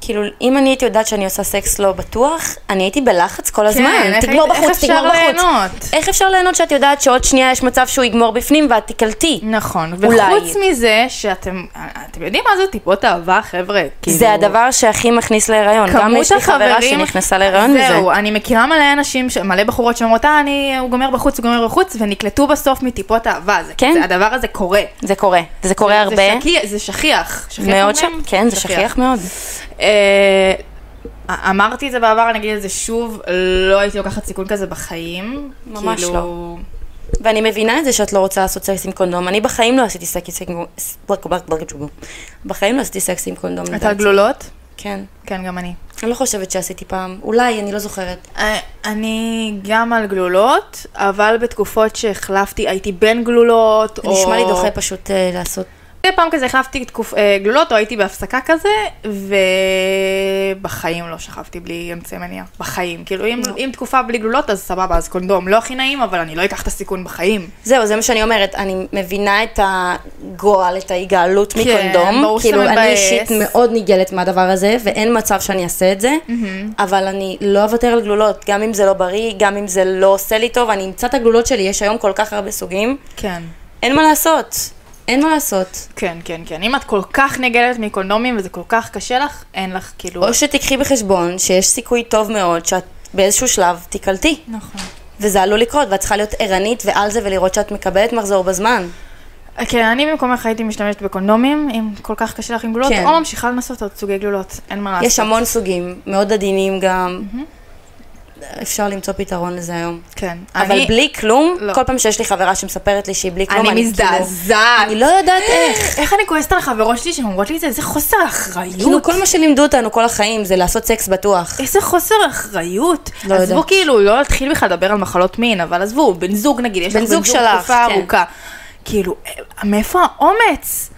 כאילו, אם אני הייתי יודעת שאני עושה סקס לא בטוח, אני הייתי בלחץ כל הזמן.
כן, איך-
תגמור
איך
בחוץ,
אפשר
תגמור בחוץ.
ליהנות?
איך אפשר ליהנות שאת יודעת שעוד שנייה יש מצב שהוא יגמור בפנים ואת תקלטי?
נכון,
אולי.
וחוץ מזה שאתם, אתם יודעים מה זה טיפות אהבה, חבר'ה? כאילו-
זה הדבר שהכי מכניס להיריון. גם
כמות
יש לי חברה
החברים-
שנכנסה להיריון מזה.
זהו, אני מכירה מלא אנשים, ש- מלא בחורות שאומרות, אה, אני, הוא גומר בחוץ, הוא גומר בחוץ, ונקלטו בסוף מטיפות אהבה. זה,
כן.
זה, הדבר הזה קורה.
זה קורה. זה קורה הרבה.
זה, שקי, זה שכיח. שכיח
מאוד
אומרים?
ש... כן, זה שכיח מאוד.
אה, אמרתי את זה בעבר, אני אגיד את זה שוב, לא הייתי לוקחת סיכון כזה בחיים.
ממש
כאילו,
לא. ואני מבינה את זה שאת לא רוצה לעשות סקס עם קונדום. אני בחיים לא עשיתי סקס עם קונדום. בחיים לא עשיתי סקס עם קונדום.
אתה על
לדעתי.
גלולות?
כן.
כן, גם אני.
אני לא חושבת שעשיתי פעם. אולי, אני לא זוכרת.
אה, אני גם על גלולות, אבל בתקופות שהחלפתי, הייתי בין גלולות,
זה
או...
נשמע לי דוחה פשוט אה, לעשות.
מדי פעם כזה החלפתי תקופ... אה, גלולות, או הייתי בהפסקה כזה, ובחיים לא שכבתי בלי אמצעי מניעה. בחיים. כאילו, אם, אם תקופה בלי גלולות, אז סבבה, אז קונדום. לא הכי נעים, אבל אני לא אקח את הסיכון בחיים.
זהו, זה מה שאני אומרת, אני מבינה את הגועל, את ההיגעלות מקונדום.
כן, ברור שזה
כאילו, אני
מבאס.
אישית מאוד נגעלת מהדבר הזה, ואין מצב שאני אעשה את זה, אבל אני לא אוותר על גלולות, גם אם זה לא בריא, גם אם זה לא עושה לי טוב, אני אמצא את הגלולות שלי, יש היום כל כך הרבה סוגים,
כן.
אין מה לעשות, אין מה לעשות.
כן, כן, כן. אם את כל כך נגלת מקונדומים וזה כל כך קשה לך, אין לך כאילו...
או שתיקחי בחשבון שיש סיכוי טוב מאוד שאת באיזשהו שלב תיקלטי,
נכון.
וזה עלול לקרות, ואת צריכה להיות ערנית ועל זה ולראות שאת מקבלת מחזור בזמן.
כן, אני במקומך הייתי משתמשת בקונדומים, אם כל כך קשה לך עם גלולות,
כן.
או ממשיכה לנסות עוד סוגי גלולות, אין מה לעשות.
יש המון סוגים, מאוד עדינים גם. אפשר למצוא פתרון לזה היום.
כן.
אבל
אני-
בלי כלום,
לא.
כל פעם שיש לי חברה שמספרת לי שהיא בלי כלום,
אני
כאילו-
מזדעזעת.
אני לא יודעת איך.
איך אני כועסת על חברות שלי שהן אומרות לי את זה? איזה חוסר אחריות.
כאילו כל מה שלימדו אותנו כל החיים זה לעשות סקס בטוח.
איזה חוסר אחריות.
לא
עזבו
יודעת.
כאילו, לא להתחיל בכלל לדבר על מחלות מין, אבל עזבו, בן זוג נגיד, יש לך
בן
בן זוג
זוג שלך,
תקופה
כן.
ארוכה. כאילו, אה, מאיפה האומץ?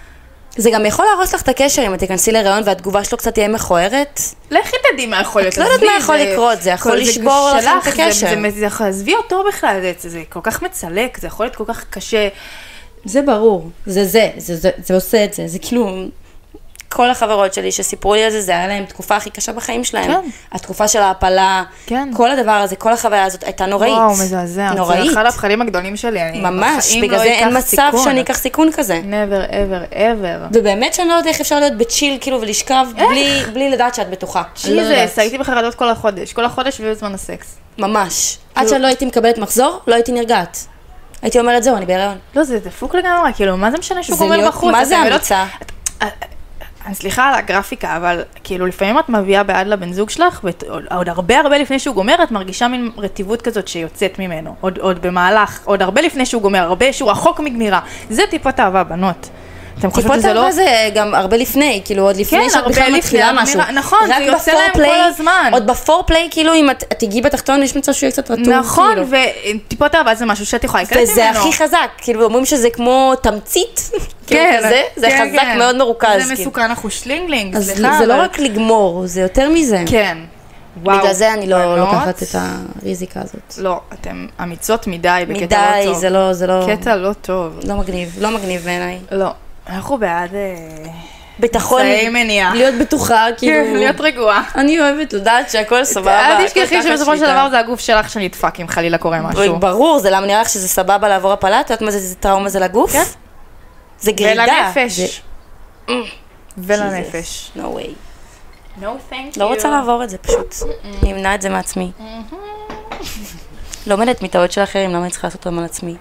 זה גם יכול להרוס לך את הקשר אם את תיכנסי להיריון והתגובה שלו קצת תהיה מכוערת.
לכי תדעי מה יכול להיות.
את לא יודעת
עזבי,
מה יכול
זה-
לקרות, זה יכול
כל-
לשבור לכם
שלך,
את
זה-
הקשר.
זה- זה יכול, עזבי אותו בכלל, זה- זה- זה כל כך מצלק, זה יכול להיות כל כך קשה.
זה ברור. זה זה, זה- זה זה עושה את זה. זה כאילו... כל החברות שלי שסיפרו לי על זה, זה היה להם תקופה הכי קשה בחיים שלהם.
כן.
התקופה של ההעפלה,
כן.
כל הדבר הזה, כל החוויה הזאת הייתה נוראית.
וואו, מזעזע.
נוראית.
זה אחד הפחדים הגדולים שלי, אני
ממש,
בחיים
בגלל
לא
זה אין
אקח
מצב
סיכון.
שאני אקח סיכון כזה.
never ever ever.
ובאמת שאני לא יודעת איך אפשר להיות בצ'יל כאילו ולשכב בלי, בלי לדעת שאת בטוחה. אני לא
ג'יזס,
יודעת.
הייתי בחרדות כל החודש, כל החודש ובזמן הסקס.
ממש.
כאילו-
עד שאני לא הייתי מקבלת מחזור, לא הייתי נרגעת. הייתי אומרת זהו, אני בהיריון.
לא, זה דפוק לגמרי, כאילו, מה זה משנה שהוא
זה
גומר
להיות-
בחוץ?
מה זה
אתם יודעות-
אמיצה?
אני סליחה על הגרפיקה, אבל כאילו לפעמים את מביאה בעד לבן זוג שלך, ועוד הרבה הרבה לפני שהוא גומר, את מרגישה מין רטיבות כזאת שיוצאת ממנו. עוד, עוד במהלך, עוד הרבה לפני שהוא גומר, הרבה שהוא רחוק מגמירה. זה טיפות אהבה, בנות. אתם חושבים
טיפות
שזה לא...
אהבה זה גם הרבה לפני, כאילו עוד לפני
כן,
שאת
הרבה
בכלל
לפני,
מתחילה
אבל
משהו.
נראה- נכון, זה
רק
יוצא להם כל
בפורפליי-
הזמן.
עוד בפורפליי, כאילו אם את את תיגעי בתחתון, יש מצב שהוא יהיה קצת רטוב.
נכון,
כאילו.
וטיפות אהבה זה משהו שאת יכולה לקלט ממנו.
וזה הכי חזק, כאילו אומרים שזה כמו תמצית, כאילו כזה, זה
כן,
חזק
כן.
מאוד מרוכז.
זה
כאילו.
מסוכן, אנחנו שלינגלינג,
אז
סליחה.
זה לא
אבל-
רק לגמור, זה יותר מזה.
כן. וואו.
בגלל זה אני לא
בנות,
לוקחת את הריזיקה הזאת.
לא, אתם אמיצות מדי, בקטע לא
מדי,
טוב.
זה לא, זה לא,
קטע לא טוב.
לא מגניב, לא מגניב בעיניי.
לא. אנחנו בעד... אה,
ביטחון,
אמצעי מניעה.
להיות בטוחה,
כן,
כאילו,
להיות רגועה.
אני אוהבת לדעת שהכל סבבה.
אל
הכל
תשכחי
תחת
שבסופו של
שליטה.
דבר זה הגוף שלך שנדפק אם חלילה קורה משהו.
ברור, זה למה נראה לך שזה סבבה לעבור הפלה? את יודעת מה זה, זה טראומה זה לגוף?
כן.
זה גרידה.
ולנפש.
זה-
ולנפש.
No way.
No thank you.
לא רוצה לעבור את זה פשוט. אני אמנע את זה מעצמי. לומדת מטעויות של אחרים, למה אני צריכה לעשות אותם על עצמי?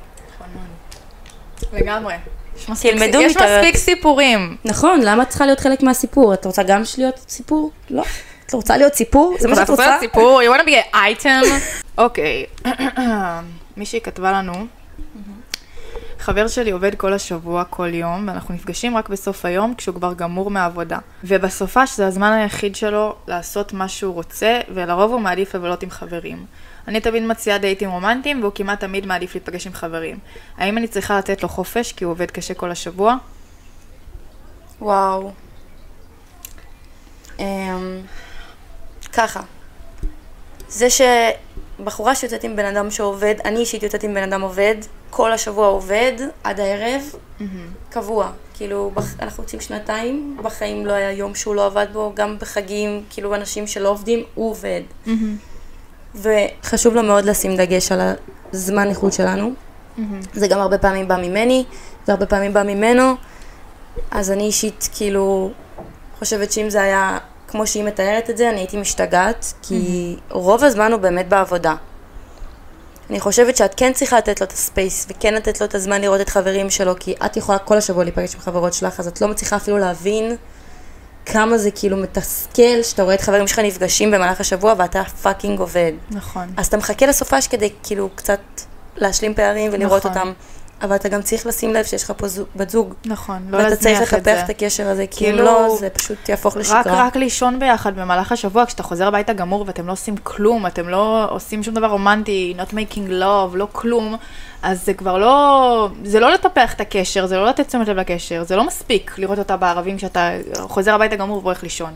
לגמרי. יש מספיק-
תלמדו
יש
מטעויות.
מספיק סיפורים.
נכון, למה את צריכה להיות חלק מהסיפור? את רוצה גם להיות סיפור? לא. את רוצה להיות סיפור? זה מה שאת
אתה
רוצה?
סיפור, you want to be an item? אוקיי, מישהי כתבה לנו, חבר שלי עובד כל השבוע, כל יום, ואנחנו נפגשים רק בסוף היום, כשהוא כבר גמור מהעבודה. ובסופש זה הזמן היחיד שלו לעשות מה שהוא רוצה, ולרוב הוא מעדיף לבלות עם חברים. אני תמיד מציעה דייטים רומנטיים, והוא כמעט תמיד מעדיף להיפגש עם חברים. האם אני צריכה לתת לו חופש, כי הוא עובד קשה כל השבוע?
וואו.
אמ,
ככה. זה שבחורה שיוצאת עם בן אדם שעובד, אני אישית יוצאת עם בן אדם עובד, כל השבוע עובד, עד הערב, קבוע. כאילו, בח... אנחנו יוצאים שנתיים, בחיים לא היה יום שהוא לא עבד בו, גם בחגים, כאילו, אנשים שלא עובדים, הוא עובד. וחשוב לו מאוד לשים דגש על הזמן איכות שלנו. זה גם הרבה פעמים בא ממני, והרבה פעמים בא ממנו, אז אני אישית, כאילו, חושבת שאם זה היה כמו שהיא מתארת את זה, אני הייתי משתגעת, כי רוב הזמן הוא באמת בעבודה. אני חושבת שאת כן צריכה לתת לו את הספייס, וכן לתת לו את הזמן לראות את חברים שלו, כי את יכולה כל השבוע להיפגש עם חברות שלך, אז את לא מצליחה אפילו להבין כמה זה כאילו מתסכל שאתה רואה את חברים שלך נפגשים במהלך השבוע ואתה פאקינג עובד.
נכון.
אז אתה מחכה לסופש כדי כאילו קצת להשלים פערים ולראות
נכון.
אותם, אבל אתה גם צריך לשים לב שיש לך פה זוג- בת זוג
נכון, לא להזניח
ואתה
את זה.
צריך לטפח את הקשר הזה, כי אם
כאילו-
לא, זה פשוט יהפוך
רק,
לשגרה.
רק לישון ביחד במהלך השבוע, כשאתה חוזר הביתה גמור ואתם לא עושים כלום, אתם לא עושים שום דבר רומנטי, not making love, לא כלום, אז זה כבר לא, זה לא לטפח את הקשר, זה לא לתת תשומת לב לקשר, זה לא מספיק לראות אותה בערבים כשאתה חוזר הביתה גמור והולך לישון.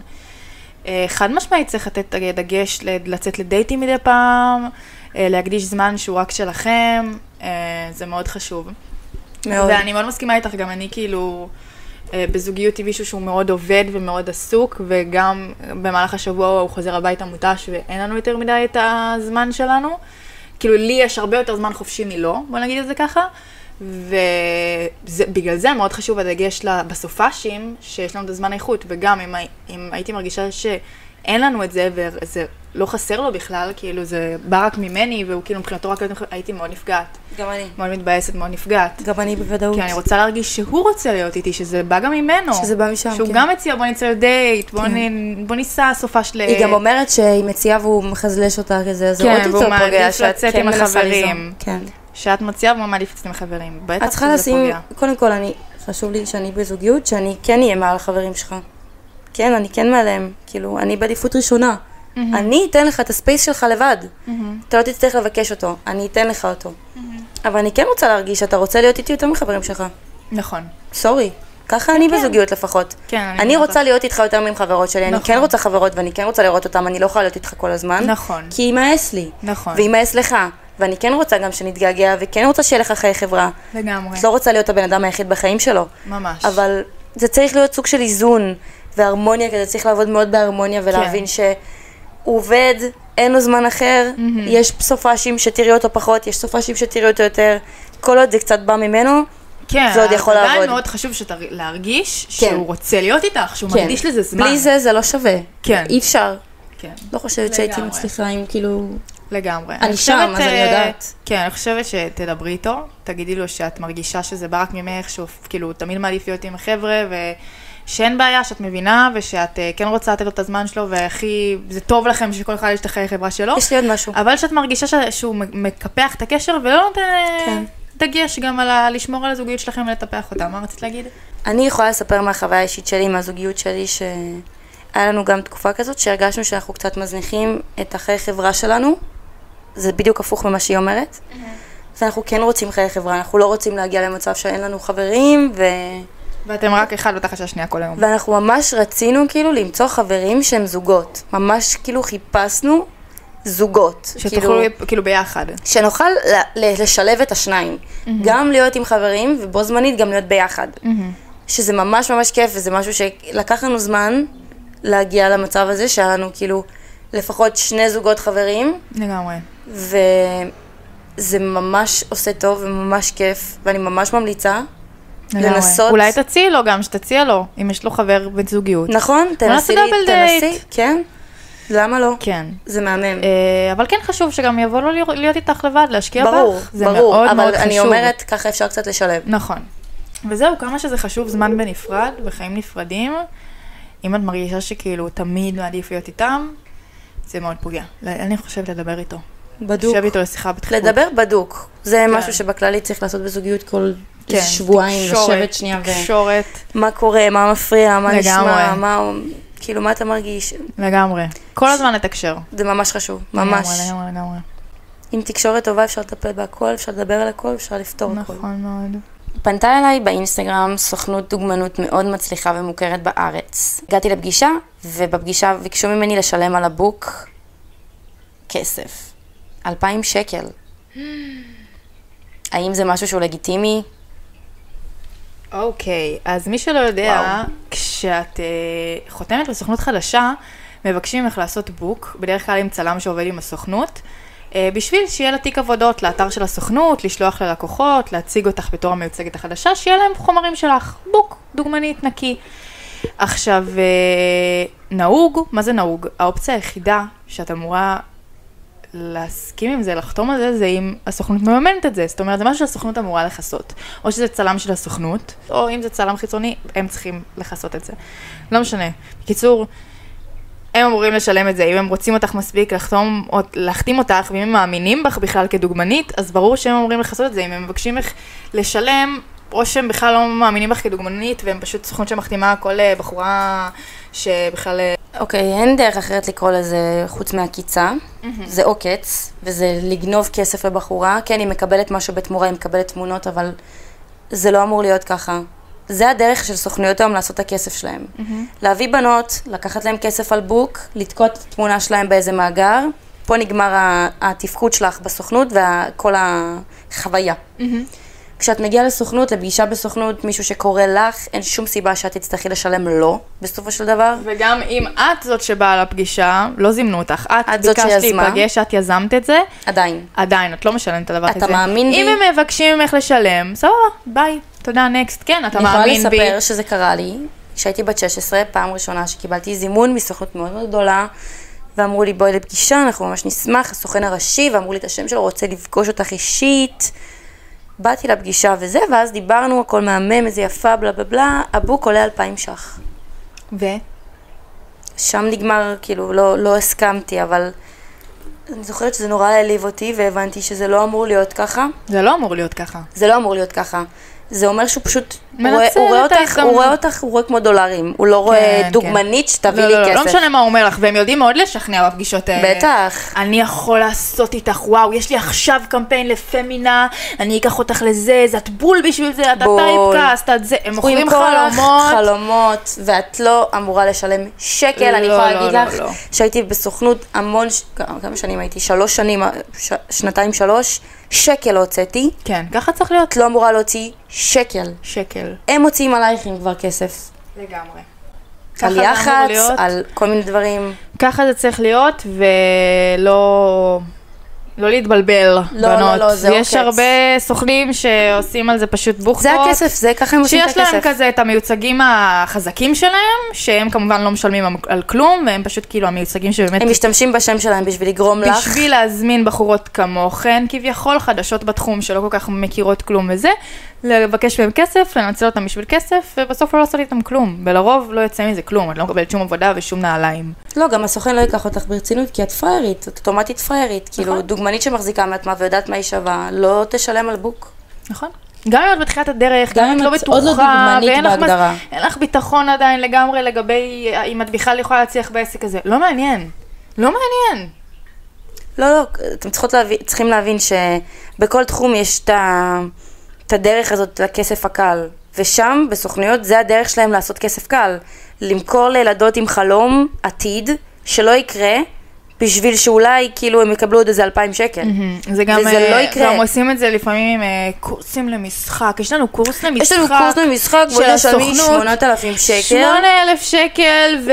אה, חד משמעית צריך לתת אה, דגש ל- לצאת לדייטים מדי פעם, אה, להקדיש זמן שהוא רק שלכם, אה, זה מאוד חשוב.
מאוד.
ואני מאוד מסכימה איתך, גם אני כאילו אה, בזוגיות עם מישהו שהוא מאוד עובד ומאוד עסוק, וגם במהלך השבוע הוא חוזר הביתה מותש ואין לנו יותר מדי את הזמן שלנו. כאילו לי יש הרבה יותר זמן חופשי מלא, בוא נגיד את זה ככה. ובגלל זה מאוד חשוב הדגש ל- בסופאשים, שיש לנו את הזמן איכות, וגם אם, הי- אם הייתי מרגישה שאין לנו את זה, וזה לא חסר לו בכלל, כאילו זה בא רק ממני, והוא כאילו מבחינתו רק הייתי מאוד נפגעת,
גם אני.
מאוד מתבאסת, מאוד נפגעת.
גם אני בוודאות.
כי אני רוצה להרגיש שהוא רוצה להיות איתי, שזה בא גם ממנו.
אוקיי. שזה בא משם,
שהוא
כן.
גם הציע, בוא נצא לדייט, בוא, נ... בוא ניסע סופה של...
היא גם אומרת שהיא מציעה והוא מחזלש אותה כזה, אז
אה, כן,
זה עוד
והוא
יותר פוגע
מעדיף
שאת
לצאת
כן
עם
מנסה
החברים.
ליזום. כן.
שאת מציעה והוא מעדיף לצאת עם חברים. בטח
את צריכה
שזה
לשים,
פוגע.
קודם כל, אני, חשוב לי שאני בזוגיות, שאני כן אהיה מעל החברים שלך. כן, אני כן מעליהם. כאילו, אני בעדיפות ראשונה. אני אתן לך את הספייס שלך לבד. אתה לא תצטרך לבקש אותו, אני אתן לך אותו. אבל אני כן רוצה להרגיש שאתה רוצה להיות איתי יותר מחברים שלך.
נכון.
סורי. ככה אני בזוגיות לפחות.
כן, אני
אני
גם
רוצה
ככה.
להיות איתך יותר מעם חברות שלי, אני
נכון.
כן רוצה חברות ואני כן רוצה לראות אותן, אני לא יכולה להיות איתך כל הזמן.
נכון.
כי יימאס לי.
נכון.
ויימאס לך. ואני כן רוצה גם שנתגעגע, וכן רוצה שיהיה לך חיי חברה.
לגמרי.
את לא רוצה להיות הבן אדם היחיד בחיים שלו.
ממש.
אבל זה צריך להיות סוג של איזון והרמוניה כזה, צריך לעבוד מאוד בהרמוניה
כן.
ולהבין שהוא עובד, אין לו זמן אחר, יש סופאשים שתראי אותו פחות, יש סופאשים שתראי אותו יותר, כל עוד זה קצת בא ממנו,
כן,
זה עוד יכול
אז
לעבוד.
עדיין מאוד חשוב שת... להרגיש
כן.
שהוא רוצה להיות איתך, שהוא מקדיש לזה זמן.
בלי זה זה לא שווה.
כן.
אי אפשר.
כן.
לא חושבת שהייתי
לגמרי. אוקיי.
מצליחה עם כאילו...
לגמרי.
אני שם,
חושבת,
אז אני
אה,
יודעת.
כן, אני חושבת שתדברי איתו, תגידי לו שאת מרגישה שזה בא רק ממך, שהוא כאילו הוא תמיד מעדיף להיות עם החבר'ה, ושאין בעיה, שאת מבינה, ושאת אה, כן רוצה לתת לו את הזמן שלו, והכי, זה טוב לכם שכל אחד יש את החיי חברה שלו,
יש לי עוד משהו.
אבל שאת מרגישה ש... שהוא מ- מקפח את הקשר, ולא נותן אה,
כן.
דגש גם על ה... לשמור על הזוגיות שלכם ולטפח אותה. מה רצית להגיד?
אני יכולה לספר מהחוויה האישית שלי, מהזוגיות שלי, שהיה לנו גם תקופה כזאת שהרגשנו שאנחנו קצת מזניחים את החיי חברה שלנו. זה בדיוק הפוך ממה שהיא אומרת.
Mm-hmm.
ואנחנו כן רוצים חיי חברה, אנחנו לא רוצים להגיע למצב שאין לנו חברים, ו...
ואתם רק אחד בתחת השנייה כל היום.
ואנחנו ממש רצינו כאילו למצוא חברים שהם זוגות. ממש כאילו חיפשנו זוגות.
שתוכלו כאילו ביחד.
שנוכל ל- ל- לשלב את השניים. Mm-hmm. גם להיות עם חברים, ובו זמנית גם להיות ביחד. Mm-hmm. שזה ממש ממש כיף, וזה משהו שלקח לנו זמן להגיע למצב הזה, שהיה לנו כאילו לפחות שני זוגות חברים,
לגמרי.
וזה ממש עושה טוב וממש כיף, ואני ממש ממליצה
לגמרי.
לנסות.
אולי תציעי לו גם, שתציע לו, אם יש לו חבר בזוגיות.
נכון, תנסי לי,
נעשה דאבל
תנסי,
דייט.
כן? למה לא?
כן.
זה מהמם.
אה, אבל כן חשוב שגם יבוא לו לרא- להיות איתך לבד, להשקיע בך.
ברור,
זה
ברור,
מאוד מאוד
אבל
חשוב.
אני אומרת, ככה אפשר קצת לשלב.
נכון. וזהו, כמה שזה חשוב, זמן בנפרד, בחיים נפרדים. אם את מרגישה שכאילו תמיד מעדיף להיות איתם, זה מאוד פוגע. לא, אני חושבת לדבר איתו.
בדוק.
שב איתו לשיחה בדחיפות.
לדבר בדוק. זה משהו שבכללי צריך לעשות בזוגיות כל
כן,
איזה שבועיים,
תקשורת,
לשבת שנייה ו...
תקשורת,
מה קורה, מה מפריע, מה נשמע,
לגמרי.
מה... כאילו, מה אתה מרגיש?
לגמרי. כל הזמן לתקשר.
זה ממש חשוב, ממש.
לגמרי, לגמרי, לגמרי.
עם תקשורת טובה אפשר לטפל בהכל, אפשר לדבר על הכל, אפשר לפתור הכל.
נכון מאוד.
פנתה אליי באינסטגרם סוכנות דוגמנות מאוד מצליחה ומוכרת בארץ. הגעתי לפגישה, ובפגישה ביקשו ממני לשלם על הבוק כסף. אלפיים שקל. האם זה משהו שהוא לגיטימי?
אוקיי, אז מי שלא יודע,
וואו.
כשאת אה, חותמת לסוכנות חדשה, מבקשים ממך לעשות בוק, בדרך כלל עם צלם שעובד עם הסוכנות, אה, בשביל שיהיה לה תיק עבודות לאתר של הסוכנות, לשלוח ללקוחות, להציג אותך בתור המיוצגת החדשה, שיהיה להם חומרים שלך. בוק, דוגמנית, נקי. עכשיו, אה, נהוג, מה זה נהוג? האופציה היחידה שאת אמורה להסכים עם זה, לחתום על זה, זה אם הסוכנות מממנת את זה. זאת אומרת, זה משהו שהסוכנות אמורה לכסות. או שזה צלם של הסוכנות, או אם זה צלם חיצוני, הם צריכים לכסות את זה. לא משנה. בקיצור, הם אמורים לשלם את זה. אם הם רוצים אותך מספיק לחתום, או להחתים אותך, ואם הם מאמינים בך בכלל כדוגמנית, אז ברור שהם אמורים לכסות את זה. אם הם מבקשים ממך לשלם, או שהם בכלל לא מאמינים בך כדוגמנית, והם פשוט סוכנות שמחתימה כל אה, בחורה שבכלל... אה,
אוקיי, אין דרך אחרת לקרוא לזה חוץ מעקיצה. זה עוקץ, וזה לגנוב כסף לבחורה. כן, היא מקבלת משהו בתמורה, היא מקבלת תמונות, אבל זה לא אמור להיות ככה. זה הדרך של סוכנויות היום לעשות את הכסף שלהם. להביא בנות, לקחת להם כסף על בוק, לתקות תמונה שלהם באיזה מאגר. פה נגמר ה- התפקוד שלך בסוכנות וכל החוויה. כשאת מגיעה לסוכנות, לפגישה בסוכנות, מישהו שקורא לך, אין שום סיבה שאת תצטרכי לשלם לו, בסופו של דבר.
וגם אם את זאת שבאה לפגישה, לא זימנו אותך. את,
את זאת
ביקשת
שיזמה.
להיפגש, את יזמת את זה,
עדיין.
עדיין, את לא משלמת את הדבר
אתה
הזה.
מאמין
אם
בי?
אם הם מבקשים ממך לשלם, סבבה, ביי, תודה, נקסט. כן, אתה
אני יכולה
מאמין בי.
לספר שזה קרה לי, כשהייתי בת 16, פעם ראשונה שקיבלתי זימון מסוכנות מאוד מאוד גדולה, ואמרו לי בואי לפגישה, אנחנו ממש נשמח, הסוכן הראשי, ואמרו לי את השם שלו, רוצה לפגוש אותך אישית. באתי לפגישה וזה, ואז דיברנו, הכל מהמם, איזה יפה, בלה בלה בלה, הבוק עולה 2,000 ש"ח.
ו?
שם נגמר, כאילו, לא, לא הסכמתי, אבל אני זוכרת שזה נורא העליב אותי, והבנתי שזה לא אמור להיות ככה.
זה לא אמור להיות ככה.
זה לא אמור להיות ככה. זה אומר שהוא פשוט, הוא
מנצל
רואה, הוא רואה
את
אותך,
ההזדמנות.
הוא רואה אותך, הוא רואה כמו דולרים. הוא לא רואה
כן.
דוגמנית שתביא
לא,
לי
לא, לא,
כסף.
לא משנה מה הוא אומר לך, והם יודעים מאוד לשכנע בפגישות האלה.
בטח.
אני יכול לעשות איתך, וואו, יש לי עכשיו קמפיין לפמינה, אני אקח אותך לזה, זה את בול בשביל זה, אתה
בול.
טייפקאסט, את זה, הם
הוא
מוכרים
ימכור לך
חלומות.
חלומות, ואת לא אמורה לשלם שקל, אני
לא,
יכולה
לא,
להגיד
לא,
לך
לא.
שהייתי בסוכנות המון, ש- כמה שנים הייתי? שלוש שנים, ש... שנתיים שלוש, שקל לא הוצאתי,
כן, ככה צריך להיות.
את לא אמורה להוציא שקל.
שקל.
הם מוציאים עלייך אם כבר כסף.
לגמרי.
על יח"צ, על כל מיני דברים.
ככה זה צריך להיות, ולא... לא להתבלבל,
לא,
בנות.
לא, זה
יש
עוקץ.
הרבה סוכנים שעושים על זה פשוט בוכטות.
זה הכסף, זה ככה הם עושים את
שיש
הכסף.
להם כזה את המיוצגים החזקים שלהם, שהם כמובן לא משלמים על כלום, והם פשוט כאילו המיוצגים שבאמת...
הם משתמשים בשם שלהם בשביל לגרום לך.
בשביל להזמין בחורות כמוכן, כביכול חדשות בתחום שלא כל כך מכירות כלום וזה, לבקש מהם כסף, לנצל אותם בשביל כסף, ובסוף לא לעשות איתם כלום. ולרוב לא יוצא מזה כלום, את לא מקבלת שום עבודה ושום נעליים.
לא, גם הסוכן לא ייקח אותך ברצינות, כי את פראיירית, את אוטומטית פראיירית. כאילו, דוגמנית שמחזיקה מעצמה ויודעת מה היא שווה, לא תשלם על בוק.
נכון. גם אם את בתחילת הדרך,
גם
גם אם את
אם
לא
את עוד לא
בטוחה,
דוגמנית
ואין לך מס-
בהגדרה.
אין לך ביטחון עדיין לגמרי לגבי אה, אם את בכלל יכולה להצליח בעסק הזה. לא מעניין. לא מעניין.
לא, לא, אתם צריכות להבין, צריכים להבין שבכל תחום יש את ה- את הדרך הזאת לכסף הקל. ושם, בסוכנויות, זה הדרך שלהם לעשות כסף קל. למכור לילדות עם חלום עתיד, שלא יקרה, בשביל שאולי כאילו הם יקבלו עוד איזה 2,000 שקל.
זה גם,
וזה
אה,
לא יקרה.
גם עושים את זה לפעמים עם אה, קורסים למשחק. יש לנו קורס למשחק.
יש לנו קורס במשחק, בואי
של
נשלמי
הסוכנות.
8,000 שקל.
8,000 שקל, ו...
ו-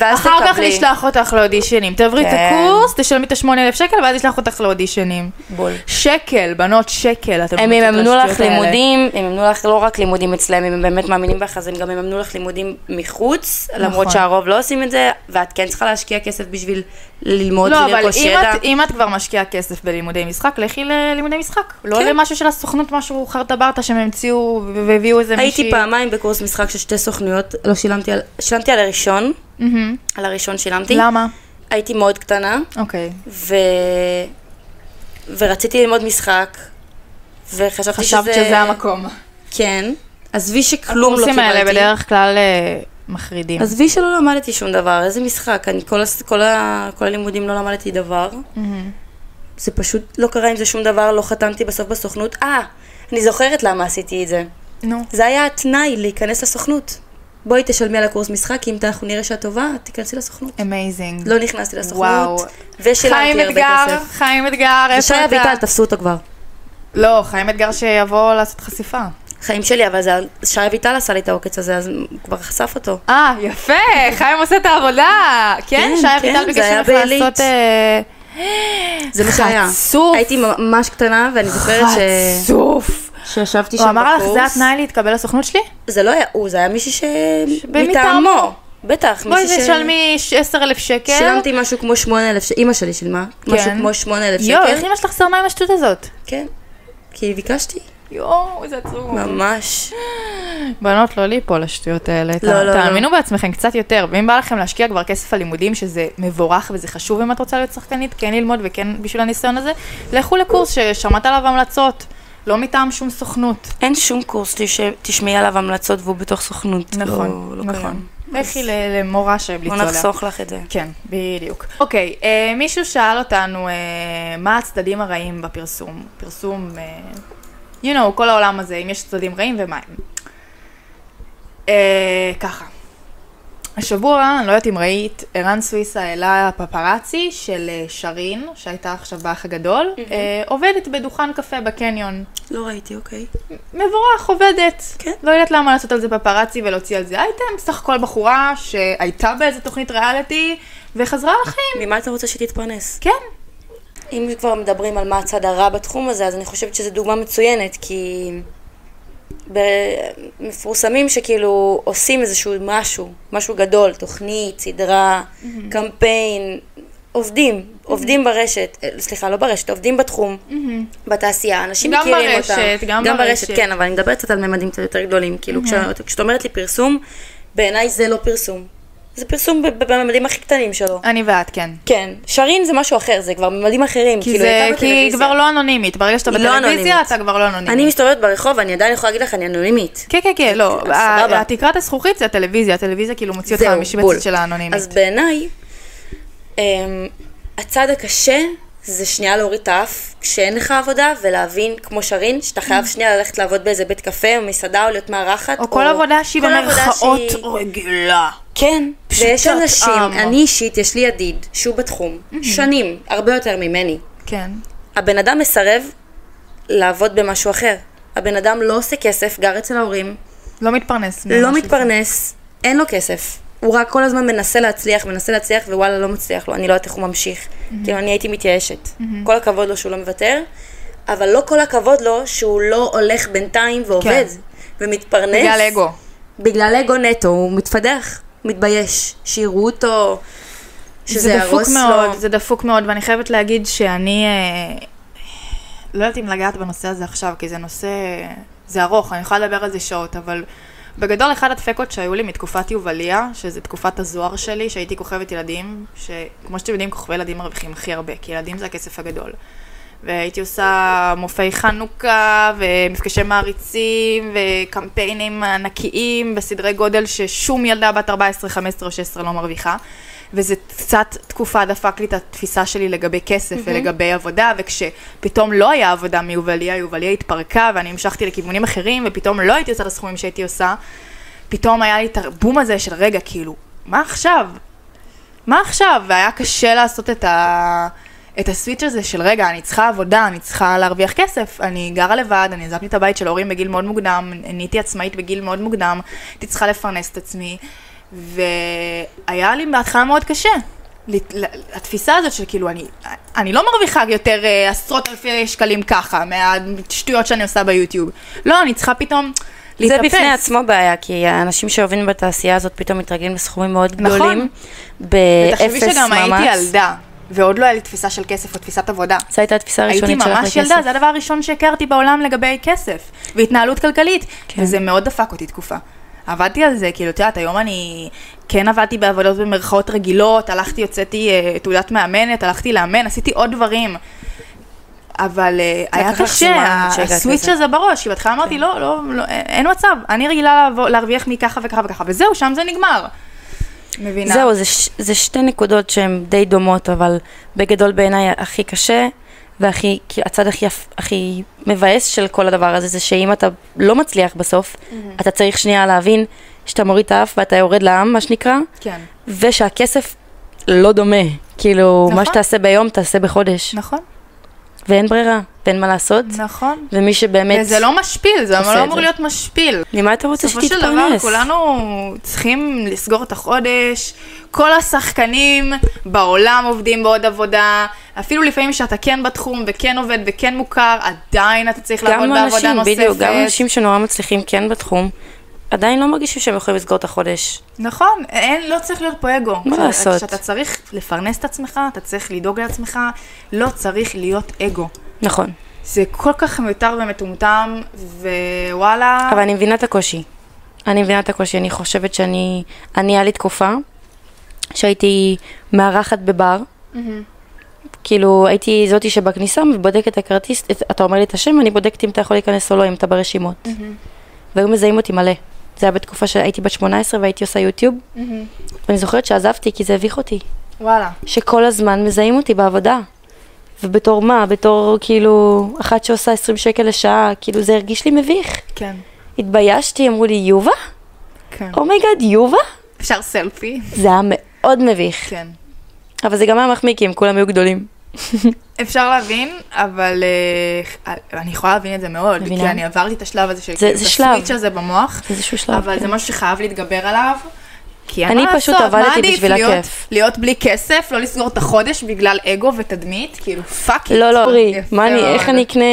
ואז
אחר כך
תקבלי.
נשלח אותך לאודישנים. תעברי את
כן.
הקורס, תשלמי את ה-8,000 שקל, ואז נשלח אותך לאודישנים.
בול.
שקל, בנות שקל, אתם
הם
רוצות
יממנו
את
לך
השטויות האלה.
לימודים, הם יממנו לך לא רק לימודים אצלם, אם הם באמת מאמינים בך, אז הם גם יממנו לך לימודים מחוץ, למרות
נכון.
שהרוב לא עושים את זה, ואת כן צריכה להשקיע כסף בשביל ללמוד
לא, אבל
ולרכוש
אם
ידע.
את, אם את כבר משקיעה כסף בלימודי משחק, לכי ללימודי משחק. לא
כן.
למשהו של הסוכנות, משהו חרטה ברטה שהם המציאו והביאו איזה מישהי.
הייתי פעמיים בקורס משחק של שתי סוכנויות, לא שילמתי על, שילמתי על הראשון,
מהמם.
על הראשון שילמתי.
למה?
הייתי מאוד קטנה,
אוקיי.
ו... ורציתי ללמוד משחק, וחשבתי
חשבת
שזה...
שזה המקום.
כן. עזבי שכלום לא קיבלתי.
הקורסים האלה בדרך כלל אה, מחרידים.
עזבי שלא למדתי שום דבר, איזה משחק, אני כל, הס- כל, ה, כל הלימודים לא למדתי דבר. זה פשוט לא קרה עם זה שום דבר, לא חתמתי בסוף בסוכנות. אה, אני זוכרת למה עשיתי את זה.
נו.
זה היה התנאי להיכנס לסוכנות. בואי תשלמי על הקורס משחק, כי אם אנחנו נראה שאת טובה, את תיכנסי לסוכנות.
אמייזינג.
לא נכנסתי
וואו.
לסוכנות, ושילמתי
חיים
הרבה
אתגר,
כסף.
חיים אתגר,
שי
איפה אתה?
אביטל, תפסו אותו כבר.
לא, חיים אתגר שיבוא לעשות חשיפה.
חיים שלי, אבל זה, שי אביטל עשה לי את העוקץ הזה, אז הוא כבר חשף אותו.
אה, יפה, חיים עושה את העבודה. כן,
כן,
שי
כן,
אביטל
זה
ביקש
היה
ממך
בעילית.
לעשות... אה,
זה מה שהיה.
חצוף.
הייתי ממש קטנה, ואני זוכרת ש...
חצוף.
שישבתי שם
הוא
בקורס.
אמר לך, זה התנאי להתקבל לסוכנות שלי?
זה לא היה הוא, זה היה מישהי ש...
שבמטעמו.
מטעמו. בטח,
בואי כן?
מישהי ש...
תשלמי 10,000 שקל.
שילמתי משהו כמו 8,000 שקל, אימא שלי שילמה, משהו כמו 8,000
כן. יואו, איך
שקל.
אמא שלך זרמה עם השטות הזאת?
כן, כי ביקשתי,
יואו, איזה עצוב.
ממש.
בנות, לא ליפול לשטויות האלה. ת-
לא, לא.
תאמינו בעצמכם קצת יותר, ואם בא לכם להשקיע כבר כסף על לימודים, שזה מבורך וזה חשוב אם את רוצה להיות שחקנית, כן ללמוד וכן בשביל הניסיון הזה, לכו לקורס ששמעת עליו המלצות, לא מטעם שום סוכנות.
אין שום קורס שתשמעי עליו המלצות והוא בתוך סוכנות.
נכון, נכון. לכי ל- למורה שהבליצו
לא, בוא
עליה.
נחסוך לך את זה.
כן, בדיוק. אוקיי, אה, מישהו שאל אותנו אה, מה הצדדים הרעים בפרסום. פרסום, אה, you know, כל העולם הזה, אם יש צדדים רעים ומה הם. אה, ככה. השבוע, אני לא יודעת אם ראית, ערן סוויסה העלה פפרצי של אה, שרין, שהייתה עכשיו באח הגדול, אה, עובדת בדוכן קפה בקניון.
לא ראיתי, אוקיי.
מבורך, עובדת.
כן.
לא יודעת למה לעשות על זה פפרצי ולהוציא על זה אייטם, סך הכל בחורה שהייתה באיזה תוכנית ריאליטי וחזרה לחיים.
ממה אתה רוצה שתתפרנס?
כן.
אם כבר מדברים על מה הצד הרע בתחום הזה, אז אני חושבת שזו דוגמה מצוינת, כי ב- מפורסמים שכאילו עושים איזשהו משהו, משהו גדול, תוכנית, סדרה, קמפיין, עובדים, עובדים ברשת, אה, סליחה, לא ברשת, עובדים בתחום, בתעשייה, אנשים
גם
מכירים
ברשת,
אותם.
גם ברשת.
כן, אבל אני מדברת קצת על ממדים קצת יותר גדולים, כאילו כש- כשאת אומרת לי פרסום, בעיניי זה לא פרסום. זה פרסום ב- ב- בממדים הכי קטנים שלו.
אני ואת, כן.
כן, שרין זה משהו אחר, זה כבר ממדים אחרים.
כי
כאילו,
זה,
הייתה
כי היא
בטלוויזיה.
כבר לא אנונימית. ברגע שאתה
היא לא
בטלוויזיה,
אנונימית.
אתה כבר לא אנונימית.
אני מסתובבת ברחוב, אני עדיין יכולה להגיד לך, אני אנונימית.
כן, כן, כן, לא.
אז סבבה.
ה- התקרת הזכוכית זה הטלוויזיה. הטלוויזיה כאילו מוציא אותך
זהו, בול.
מהמשבצת של האנונימית.
אז בעיניי, אמ, הצד הקשה זה שנייה להוריד את האף כשאין לך עבודה, ולהבין, כמו שרין, שאתה חייב שנייה ללכת לעבוד באיזה בית קפה, או מסעדה, או להיות מארחת.
Mm. או כל עבודה שהיא
כל עבודה
במרכאות
שהיא-
רגילה.
כן,
פשוטת
ויש אנשים,
עם. Mm-hmm.
אני אישית, יש לי ידיד, שהוא בתחום, שנים, הרבה יותר ממני.
כן.
הבן אדם מסרב לעבוד במשהו אחר. הבן אדם לא עושה כסף, גר אצל ההורים,
לא מתפרנס.
לא
ממשהו
מתפרנס, אין לו כסף. הוא רק כל הזמן מנסה להצליח, מנסה להצליח, ווואלה, לא מצליח לו, אני לא יודעת איך הוא ממשיך. כאילו, אני הייתי מתייאשת. כל הכבוד לו שהוא לא מוותר, אבל לא כל הכבוד לו שהוא לא הולך בינתיים ועובד,
כן.
ומתפרנס.
זה. בגלל אגו.
בגלל אגו נטו, הוא מתפדח, מתבייש, שיראו אותו, שזה לא-
זה דפוק
יהרוס לו.
מאוד, זה דפוק מאוד, ואני חייבת להגיד שאני אה, לא יודעת אם לגעת בנושא הזה עכשיו, כי זה נושא, זה ארוך, אני יכולה לדבר על זה שעות, אבל בגדול אחד הדפקות שהיו לי מתקופת יובליה, שזה תקופת הזוהר שלי, שהייתי כוכבת ילדים, שכמו שאתם יודעים, כוכבי ילדים מרוויחים הכי הרבה, כי ילדים זה הכסף הגדול. והייתי עושה מופעי חנוכה, ומפגשי מעריצים, וקמפיינים ענקיים בסדרי גודל ששום ילדה בת 14, 15 או 16 לא מרוויחה. וזה קצת תקופה דפק לי את התפיסה שלי לגבי כסף mm-hmm. ולגבי עבודה, וכשפתאום לא היה עבודה מיובליה, יובליה התפרקה, ואני המשכתי לכיוונים אחרים, ופתאום לא הייתי עושה את הסכומים שהייתי עושה, פתאום היה לי את הבום הזה של רגע, כאילו, מה עכשיו? מה עכשיו? והיה קשה לעשות את, ה... את הסוויץ' הזה של רגע, אני צריכה עבודה, אני צריכה להרוויח כסף, אני גרה לבד, אני עזבתי את הבית של ההורים בגיל מאוד מוקדם, נהייתי עצמאית בגיל מאוד מוקדם, הייתי צריכה לפרנס את עצמי, והיה לי בהתחלה מאוד קשה. לת- ל- התפיסה הזאת של כאילו, אני, אני לא מרוויחה יותר אה, עשרות אלפי שקלים ככה, מהשטויות שאני עושה ביוטיוב. לא, אני צריכה פתאום
זה
להתאפס.
בפני עצמו בעיה, כי האנשים שעובדים בתעשייה הזאת פתאום מתרגלים לסכומים מאוד
נכון.
גדולים.
תחשבי
באפס מאמץ.
שגם הייתי ילדה, ועוד לא היה לי תפיסה של כסף או תפיסת עבודה.
זו הייתה התפיסה
הייתי
הראשונית שלך לכסף.
ממש ילדה, זה הדבר הראשון שהכרתי בעולם לגבי כסף, והתנהלות כלכלית,
כן.
וזה מאוד דפק אותי תקופה. עבדתי על זה, כאילו, את יודעת, היום אני כן עבדתי בעבודות במרכאות רגילות, הלכתי, הוצאתי אה, תעודת מאמנת, הלכתי לאמן, עשיתי עוד דברים. אבל אה, היה
לקח לך
קשה,
זמן
ה-
שהגעת
הסוויץ'
לזה. כן.
הזה בראש, כי בהתחלה אמרתי, לא, לא, לא, אה, אין מצב, אני רגילה לעבור- להרוויח מככה וככה וככה, וזהו, שם זה נגמר. מבינה?
זהו, זה, ש- זה שתי נקודות שהן די דומות, אבל בגדול בעיניי הכי קשה, והכי, כי הצד הכי, יפ- הכי מבאס של כל הדבר הזה, זה שאם אתה לא מצליח בסוף, אתה צריך שנייה להבין שאתה מוריד את האף ואתה יורד לעם, מה שנקרא,
כן.
ושהכסף לא דומה. כאילו,
נכון.
מה שתעשה ביום, תעשה בחודש.
נכון,
ואין ברירה, ואין מה לעשות.
נכון.
ומי שבאמת...
וזה לא משפיל, זה
עושה
לא
את
אמור
זה.
להיות משפיל.
ממה אתה רוצה
בסופו
שתתפרנס?
של דבר כולנו צריכים לסגור את החודש, כל השחקנים בעולם עובדים בעוד עבודה, אפילו לפעמים שאתה כן בתחום וכן עובד וכן מוכר, עדיין אתה צריך לעבוד
גם
בעבודה
אנשים,
נוספת.
בדיוק, גם אנשים שנורא מצליחים כן בתחום, עדיין לא מרגישים שהם יכולים לסגור את החודש.
נכון, אין, לא צריך להיות פה אגו.
מה לעשות?
כשאתה צריך לפרנס את עצמך, אתה צריך לדאוג לעצמך, לא צריך להיות אגו.
נכון,
זה כל כך מיותר ומטומטם, ווואלה,
אבל אני מבינה את הקושי. אני מבינה את הקושי, אני חושבת שאני... אני, היה לי תקופה שהייתי מארחת בבר, כאילו הייתי זאתי שבכניסה ובודקת את הכרטיס, את- אתה אומר לי את השם, אני בודקת אם אתה יכול להיכנס או לא, אם אתה ברשימות. והיו מזהים אותי מלא. זה היה בתקופה שהייתי בת 18 והייתי עושה יוטיוב, ואני זוכרת שעזבתי כי זה הביך אותי.
וואלה.
שכל הזמן מזהים אותי בעבודה. ובתור מה? בתור כאילו אחת שעושה 20 שקל לשעה, כאילו זה הרגיש לי מביך.
כן,
התביישתי, אמרו לי, יובה?
כן.
אומייגאד, יובה?
אפשר סלפי?
זה היה מאוד מביך.
כן.
אבל זה גם היה מחמיא, כי הם כולם היו גדולים.
אפשר להבין, אבל אה, אני יכולה להבין את זה מאוד,
מבינה.
כי אני עברתי את השלב הזה של
זה-
כאילו,
זה
את
שלב.
הסוויץ' הזה במוח,
איזשהו שלב.
אבל זה
כן.
משהו שחייב להתגבר עליו. כי אין
אני
מה
פשוט
לעשות, מה
עבדתי
עדיף,
בשביל
להיות-
הכיף.
להיות בלי כסף, לא לסגור את החודש בגלל אגו ותדמית, כאילו פאק איט.
לא, לא, אורי,
יפה
מה אני, איך
מאוד.
אני אקנה,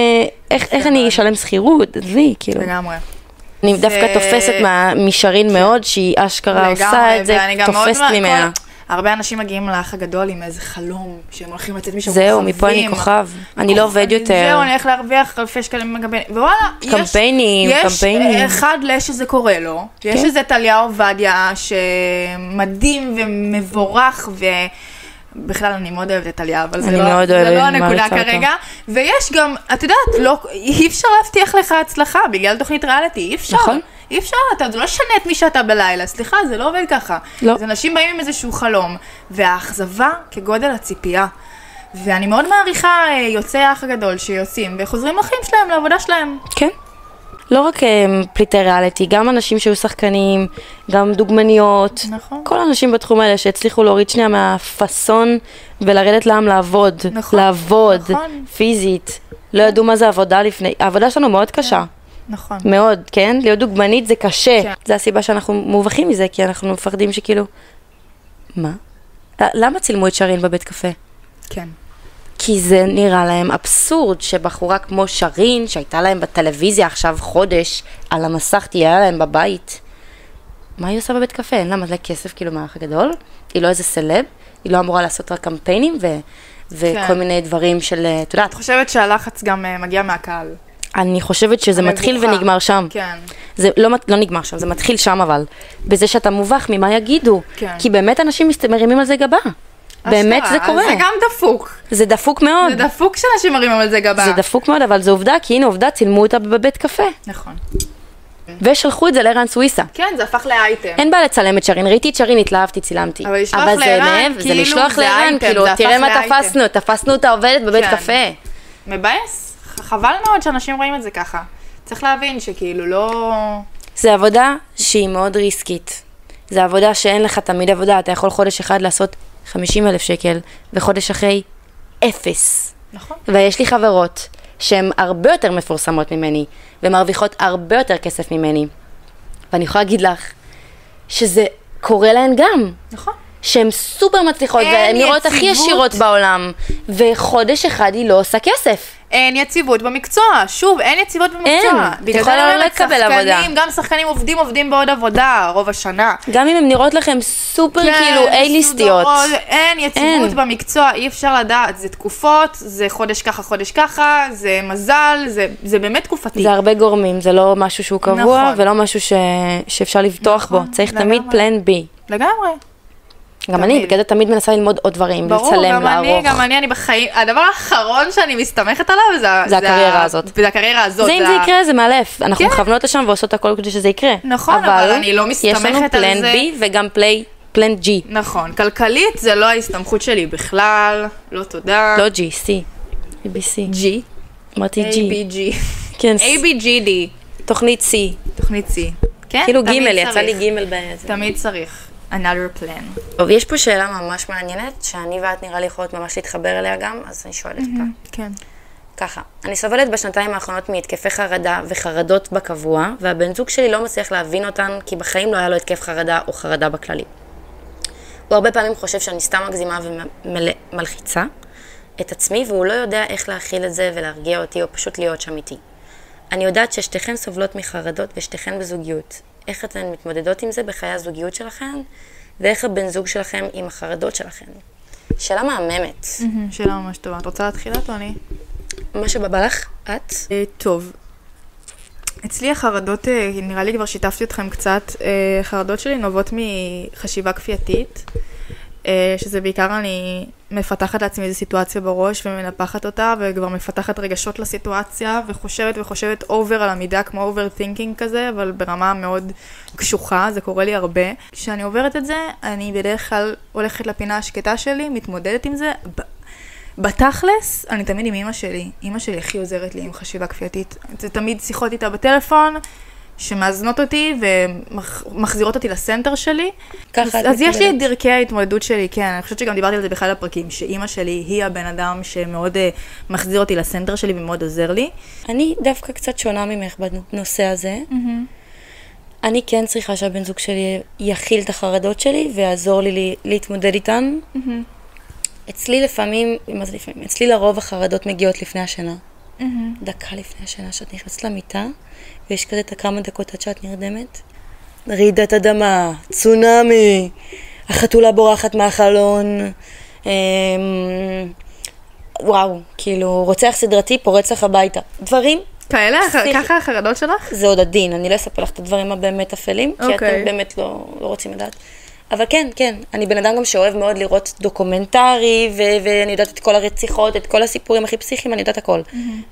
איך- איך אני אשלם שכירות? עזבי, כאילו.
לגמרי. כן.
אני דווקא תופסת מה- משרין מאוד, שהיא אשכרה עושה את זה,
ואני גם מאוד
תופסת
מה-
ממנה.
כל- הרבה אנשים מגיעים לאח הגדול עם איזה חלום, שהם הולכים לצאת משם
זהו, מפה אני
כוכבים.
כוכב. אני לא עובד יותר.
זהו, אני הולך להרוויח אלפי שקלים בקמפיינים. ווואלה, יש...
קמפיינים, קמפיינים.
יש אה, אחד ל- שזה קורה לו. יש
כן.
איזה טליה עובדיה שמדהים ומבורך ו... בכלל, אני מאוד אוהבת את טליה, אבל זה
אני
לא,
מאוד
זה
אוהבת,
לא הנקודה
מעריצה אותה.
כרגע. ויש גם, את יודעת, לא, אי אפשר להבטיח לך הצלחה בגלל תוכנית ריאליטי, אי אפשר.
נכון.
אי אפשר, אתה זה לא שנה את מי שאתה בלילה, סליחה, זה לא עובד ככה.
לא.
אז אנשים באים עם איזשהו חלום, והאכזבה כגודל הציפייה. ואני מאוד מעריכה אה, יוצאי האח הגדול שיוצאים וחוזרים לחיים שלהם, לעבודה שלהם.
כן. לא רק הם, פליטי ריאליטי, גם אנשים שהיו שחקנים, גם דוגמניות.
נכון.
כל האנשים בתחום האלה שהצליחו להוריד שנייה מהפאסון ולרדת לעם לעבוד.
נכון.
לעבוד.
נכון.
פיזית. לא ידעו מה זה עבודה לפני. העבודה שלנו מאוד קשה.
נכון.
מאוד, כן? להיות דוגמנית זה קשה.
כן.
זה הסיבה שאנחנו מובכים מזה, כי אנחנו מפחדים שכאילו... מה? למה צילמו את שרין בבית קפה?
כן.
כי זה נראה להם אבסורד שבחורה כמו שרין, שהייתה להם בטלוויזיה עכשיו חודש, על המסך תהיה להם בבית. מה היא עושה בבית קפה? אין לה מלא כסף, כאילו, מהאח הגדול? היא לא איזה סלב, היא לא אמורה לעשות רק קמפיינים ו... וכל
כן.
מיני דברים של, אה, את יודעת,
את חושבת שהלחץ גם אה, מגיע מהקהל.
אני חושבת שזה מתחיל
המבוכה.
ונגמר שם.
כן.
זה לא, מת- לא נגמר שם, זה מתחיל שם אבל. בזה שאתה מובך, ממה יגידו?
כן.
כי באמת אנשים מסת- מרימים על זה גבה. באמת
אשכרה,
זה
אז
קורה.
זה גם דפוק.
זה דפוק מאוד.
זה דפוק שאנשים מרים על זה גבה.
זה דפוק מאוד, אבל זו עובדה, כי הנה עובדה, צילמו אותה בבית קפה.
נכון.
ושלחו את זה לערן סוויסה.
כן, זה הפך לאייטם.
אין בעיה לצלם את שרין, ראיתי את שרין, התלהבתי, צילמתי.
אבל לשלוח
אבל זה
לערן,
מעבר, זה
כאילו,
לשלוח
זה
לערן,
אייטם,
כאילו,
זה הפך
תראה מה
לאייטם.
תפסנו, תפסנו את העובדת בבית
כן.
קפה.
מבאס. ח- חבל מאוד שאנשים רואים את זה ככה. צריך להבין שכאילו לא...
זה עבודה שהיא מאוד ריסקית. זה עבודה שאין לך תמיד עבודה, אתה יכול חודש אחד לעשות 50 אלף שקל, וחודש אחרי, אפס.
נכון.
ויש לי חברות שהן הרבה יותר מפורסמות ממני, ומרוויחות הרבה יותר כסף ממני. ואני יכולה להגיד לך שזה קורה להן גם.
נכון.
שהן סופר מצליחות,
אין
והן נראות הכי
יציבות.
ישירות בעולם, וחודש אחד היא לא עושה כסף.
אין יציבות במקצוע. שוב, אין יציבות במקצוע.
אין.
בגלל
אתה
זה אני
יכול לא
אומרת,
לקבל
שחקנים,
עבודה.
גם שחקנים עובדים, עובדים בעוד עבודה רוב השנה.
גם אם הן נראות לכם סופר
כן,
כאילו איי-ליסטיות.
מסודרות, אין יציבות
אין.
במקצוע, אי אפשר לדעת. זה תקופות, זה חודש ככה, חודש ככה, זה מזל, זה, זה באמת תקופתי.
זה הרבה גורמים, זה לא משהו שהוא קבוע,
נכון.
ולא משהו ש... שאפשר לבטוח בו. צריך
לגמרי.
תמיד פלן בי.
לגמרי.
גם אני,
תמיד.
בגלל זה תמיד מנסה ללמוד עוד דברים,
ברור,
לצלם,
גם אני,
לערוך.
גם אני, אני בחיים, הדבר האחרון שאני מסתמכת עליו זה... ה-
זה הקריירה
ה-
הזאת.
זה הקריירה הזאת.
זה אם זה
ה-
יקרה, זה מאלף. אנחנו
כן.
מכוונות לשם ועושות הכל כדי שזה יקרה.
נכון, אבל אני לא
יש לנו
מסתמכת על
פלן
זה.
בי וגם פליי, פלן ג'י.
נכון, כלכלית זה לא ההסתמכות שלי בכלל, לא תודה.
לא ג'י, סי. ABC.
G.
אמרתי ג'י.
ABG.
כן,
ABGD.
תוכנית סי.
תוכנית C. כן,
כאילו
תמיד
גימל, יצא
צריך.
לי גימל באיזה.
תמיד צריך. another plan.
טוב, יש פה שאלה ממש מעניינת, שאני ואת נראה לי יכולות ממש להתחבר אליה גם, אז אני שואלת כאן.
כן.
ככה, אני סובלת בשנתיים האחרונות מהתקפי חרדה וחרדות בקבוע, והבן זוג שלי לא מצליח להבין אותן, כי בחיים לא היה לו התקף חרדה או חרדה בכללי. הוא הרבה פעמים חושב שאני סתם מגזימה ומלחיצה את עצמי, והוא לא יודע איך להכיל את זה ולהרגיע אותי, או פשוט להיות שם איתי. אני יודעת ששתיכן סובלות מחרדות ושתיכן בזוגיות. איך אתן מתמודדות עם זה בחיי הזוגיות שלכן, ואיך הבן זוג שלכם עם החרדות שלכן. שאלה מהממת.
שאלה ממש טובה. את רוצה להתחיל את או אני?
מה שבא לך, את?
אה, טוב. אצלי החרדות, אה, נראה לי כבר שיתפתי אתכם קצת, אה, החרדות שלי נובעות מחשיבה כפייתית, אה, שזה בעיקר אני מפתחת לעצמי איזו סיטואציה בראש ומנפחת אותה, וכבר מפתחת רגשות לסיטואציה, וחושבת וחושבת אובר על המידה, כמו אובר תינקינג כזה, אבל ברמה מאוד קשוחה, זה קורה לי הרבה. כשאני עוברת את זה, אני בדרך כלל הולכת לפינה השקטה שלי, מתמודדת עם זה, ב- בתכלס, אני תמיד עם אימא שלי. אימא שלי הכי עוזרת לי עם חשיבה כפייתית. זה תמיד שיחות איתה בטלפון, שמאזנות אותי ומחזירות אותי לסנטר שלי.
ככה
אז,
את
אז יש לי את
מקבלת.
דרכי ההתמודדות שלי, כן. אני חושבת שגם דיברתי על זה באחד הפרקים, שאימא שלי היא הבן אדם שמאוד אה, מחזיר אותי לסנטר שלי ומאוד עוזר לי.
אני דווקא קצת שונה ממך בנושא הזה. Mm-hmm, אני כן צריכה שהבן זוג שלי יכיל את החרדות שלי ויעזור לי לי להתמודד איתן. אצלי לפעמים, מה זה לפעמים? אצלי לרוב החרדות מגיעות לפני השינה. דקה לפני השינה שאת נכנסת למיטה, ויש כזה את הכמה דקות עד שאת נרדמת. רעידת אדמה, צונאמי, החתולה בורחת מהחלון. אמ, וואו, כאילו, רוצח סדרתי פורץ לך הביתה. דברים,
כאלה, הח-
פסיכי.
ככה החרדות שלך?
זה עוד עדין, אני לא אספר לך את הדברים הבאמת אפלים, כי
אוקיי.
אתם באמת לא, לא רוצים לדעת. אבל כן, כן, אני בן אדם גם שאוהב מאוד לראות דוקומנטרי, ו- ואני יודעת את כל הרציחות, את כל הסיפורים הכי פסיכיים, אני יודעת הכל.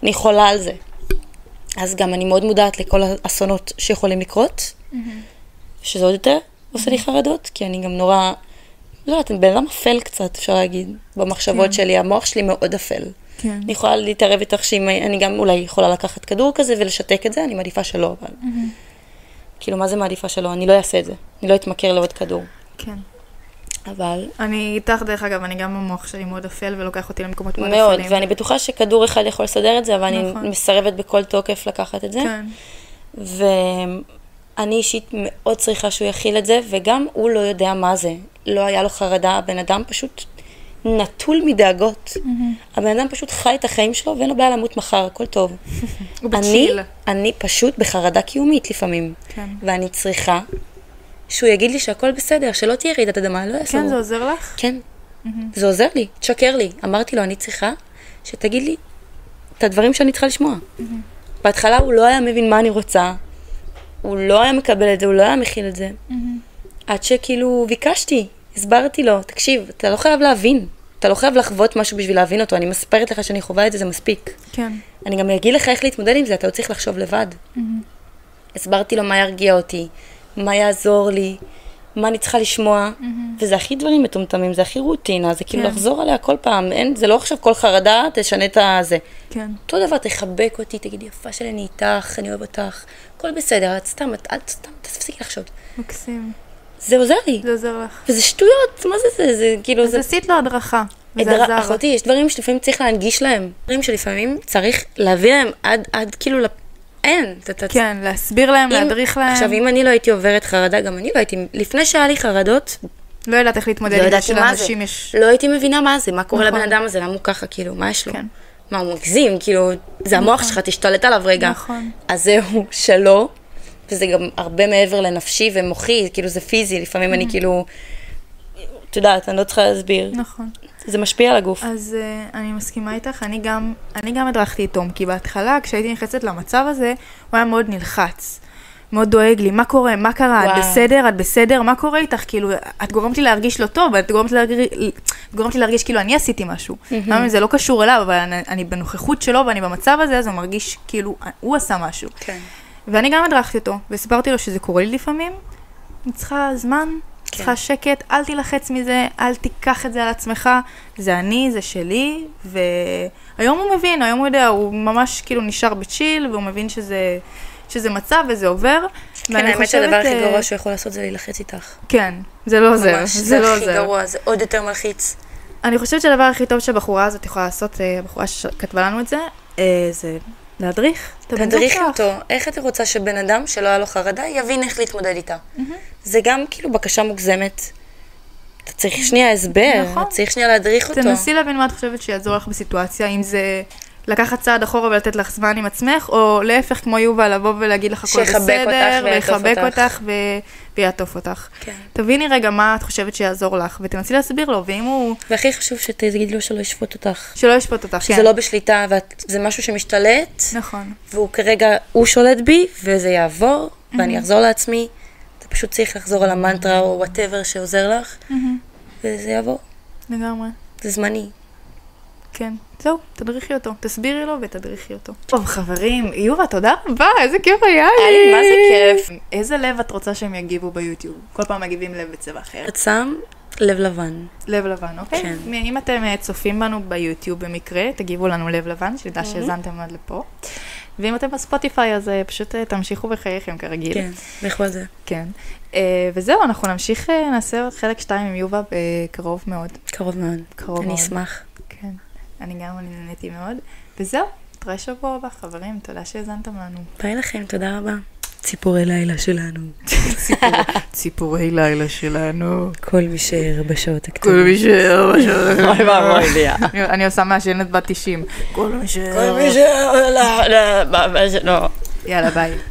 אני חולה על זה. אז גם אני מאוד מודעת לכל האסונות שיכולים לקרות, שזה עוד יותר עושה לי חרדות, כי אני גם נורא, לא יודעת, אני בן אדם אפל קצת, אפשר להגיד, במחשבות שלי, המוח שלי מאוד אפל.
כן.
אני יכולה להתערב איתך שאם אני גם אולי יכולה לקחת כדור כזה ולשתק את זה, אני מעדיפה שלא, אבל...
Mm-hmm.
כאילו, מה זה מעדיפה שלא? אני לא אעשה את זה. אני לא אתמכר לעוד כדור.
כן.
אבל...
אני איתך, דרך אגב, אני גם המוח שלי מאוד אפל ולוקח אותי למקומות מאוד אפלים.
מאוד, ואני בטוחה שכדור אחד יכול לסדר את זה, אבל
נכון.
אני מסרבת בכל תוקף לקחת את זה.
כן.
ואני אישית מאוד צריכה שהוא יכיל את זה, וגם הוא לא יודע מה זה. לא היה לו חרדה, הבן אדם פשוט נטול מדאגות.
Mm-hmm.
הבן אדם פשוט חי את החיים שלו, ואין לו בעיה למות מחר, הכל טוב.
הוא
אני,
בצ'יל.
אני פשוט בחרדה קיומית לפעמים.
כן.
ואני צריכה שהוא יגיד לי שהכל בסדר, שלא תהיה רעידת אדמה, לא יעשו.
כן, זה עוזר לך?
כן. זה עוזר לי, תשקר לי. אמרתי לו, אני צריכה שתגיד לי את הדברים שאני צריכה לשמוע. בהתחלה הוא לא היה מבין מה אני רוצה, הוא לא היה מקבל את זה, הוא לא היה מכיל את זה. עד שכאילו ביקשתי, הסברתי לו, תקשיב, אתה לא חייב להבין, אתה לא חייב לחוות משהו בשביל להבין אותו, אני מספרת לך שאני חווה את זה, זה מספיק.
כן.
אני גם אגיד לך איך להתמודד עם זה, אתה לא צריך לחשוב לבד.
Mm-hmm.
הסברתי לו מה ירגיע אותי, מה יעזור לי, מה אני צריכה לשמוע, וזה הכי דברים מטומטמים, זה הכי רוטינה, זה כאילו
Mm-hmm. כן.
לחזור עליה כל פעם, אין, זה לא עכשיו כל חרדה, תשנה את הזה.
כן.
אותו דבר, תחבק אותי, תגיד, יפה שלי, אני איתך, אני אוהב אותך, הכל בסדר, את סתם, את, את סתם, תפסיקי לחשוב.
מקסים.
זה עוזר לי.
זה עוזר לך.
וזה שטויות, מה זה זה? זה כאילו,
אז
זה...
עשית לו הדרכה, וזה
הדרה-
עזר. לך.
אחותי, יש דברים שלפעמים צריך להנגיש להם. דברים שלפעמים צריך להביא להם עד, עד כאילו, לפ- אין. אתה- אתה-
כן, להסביר להם,
אם-
להדריך להם.
עכשיו, אם אני לא הייתי עוברת חרדה, גם אני לא הייתי, לפני שהיה לי חרדות,
לא יודעת איך להתמודד
לא
עם זה,
ידעתי מה זה.
שלאנשים יש...
לא הייתי מבינה מה זה, מה קורה
נכון.
לבן אדם הזה, למה הוא ככה, כאילו, מה יש לו?
כן.
מה, הוא מגזים, כאילו, זה המוח שלך, תשתלט עליו רגע.
נכון.
אז זהו, שלא, וזה גם הרבה מעבר לנפשי ומוחי, כאילו, זה פיזי, לפעמים אני כאילו, את יודעת, אני לא צריכה להסביר.
Mm. נכון.
זה משפיע על הגוף.
אז uh, אני מסכימה איתך, אני גם, אני גם הדרכתי את תום, כי בהתחלה כשהייתי נכנסת למצב הזה, הוא היה מאוד נלחץ. מאוד דואג לי, מה קורה, מה קרה, את
וואו.
בסדר, את בסדר, מה קורה איתך, כאילו, את גורמת לי להרגיש לא טוב, את גורמת לי, להרגיש, גורמת לי להרגיש כאילו אני עשיתי משהו. גם אם זה לא קשור אליו, אבל אני, אני בנוכחות שלו ואני במצב הזה, אז הוא מרגיש כאילו, הוא עשה משהו.
כן.
ואני גם הדרכתי אותו, וסיפרתי לו שזה קורה לי לפעמים. אני צריכה זמן, כן. צריכה שקט, אל תילחץ מזה, אל תיקח את זה על עצמך. זה אני, זה שלי, והיום הוא מבין, היום הוא יודע, הוא ממש כאילו נשאר בצ'יל, והוא מבין שזה, שזה מצב וזה עבר.
כן,
ואני
האמת שהדבר הכי
אה,
גרוע שהוא יכול לעשות זה להילחץ איתך.
כן, זה לא עוזר,
ממש,
זה לא
הכי
עוזר.
גרוע, זה עוד יותר מלחיץ.
אני חושבת שהדבר הכי טוב שהבחורה הזאת יכולה לעשות, אה, הבחורה שכתבה לנו את זה, אה, זה להדריך את הבן זוג
תדריכי
שלך.
אותו. איך את רוצה שבן אדם שלא היה לו חרדה יבין איך להתמודד איתה? זה גם כאילו בקשה מוגזמת. אתה צריך שנייה הסבר,
נכון.
אתה צריך שנייה להדריך אותו.
תנסי להבין מה את חושבת שיעזור לך בסיטואציה, אם זה לקחת צעד אחורה ולתת לך זמן עם עצמך, או להפך כמו יובל, לבוא ולהגיד לך הכל
שיחבק אותך
בסדר,
ויעטוף
ויחבק
אותך.
אותך ו... ויעטוף אותך.
כן.
תביני רגע מה את חושבת שיעזור לך, ותנסי להסביר לו, ואם הוא...
והכי חשוב שתגיד לו שלא ישפוט אותך.
שלא ישפוט אותך,
שזה
כן.
לא בשליטה, וזה משהו שמשתלט,
נכון.
והוא כרגע, הוא שולט בי, וזה יעבור, ואני אחזור לעצמי. אתה פשוט צריך לחזור על המנטרה או וואטאבר שעוזר לך, וזה יעבור.
לגמרי.
זה זמני.
כן. זהו, תדריכי אותו. תסבירי לו ותדריכי אותו. טוב, חברים, יובה, תודה רבה, איזה כיף היה לי.
היה לי מה זה כיף.
איזה לב את רוצה שהם יגיבו ביוטיוב? כל פעם מגיבים לב בצבע אחר.
עצם, לב לבן.
לב לבן, אוקיי?
כן.
כן. אם אתם אה, צופים בנו ביוטיוב במקרה, תגיבו לנו לב לבן, שנדע שהאזנתם עד לפה. ואם אתם בספוטיפיי, אז אה, פשוט אה, תמשיכו בחייכם כרגיל.
כן, לכו על זה.
כן. אה, וזהו, אנחנו נמשיך, אה, נעשה עוד חלק 2 עם יובה בקרוב מאוד.
קרוב מאוד.
קרוב
אני
מאוד.
אשמח.
כן. אני גם, אני נהניתי מאוד. וזהו, נתראה שבוע הבא, חברים, תודה שהאזנתם לנו.
ביי לכם, תודה רבה. ציפורי לילה שלנו.
ציפורי לילה שלנו.
כל מי שער בשעות הקטנות.
כל מי שער בשעות.
אוי ואבוי לי.
אני עושה מעשנת בת 90. כל מי שער.
כל מי שער... לא, לא, לא, לא.
יאללה, ביי.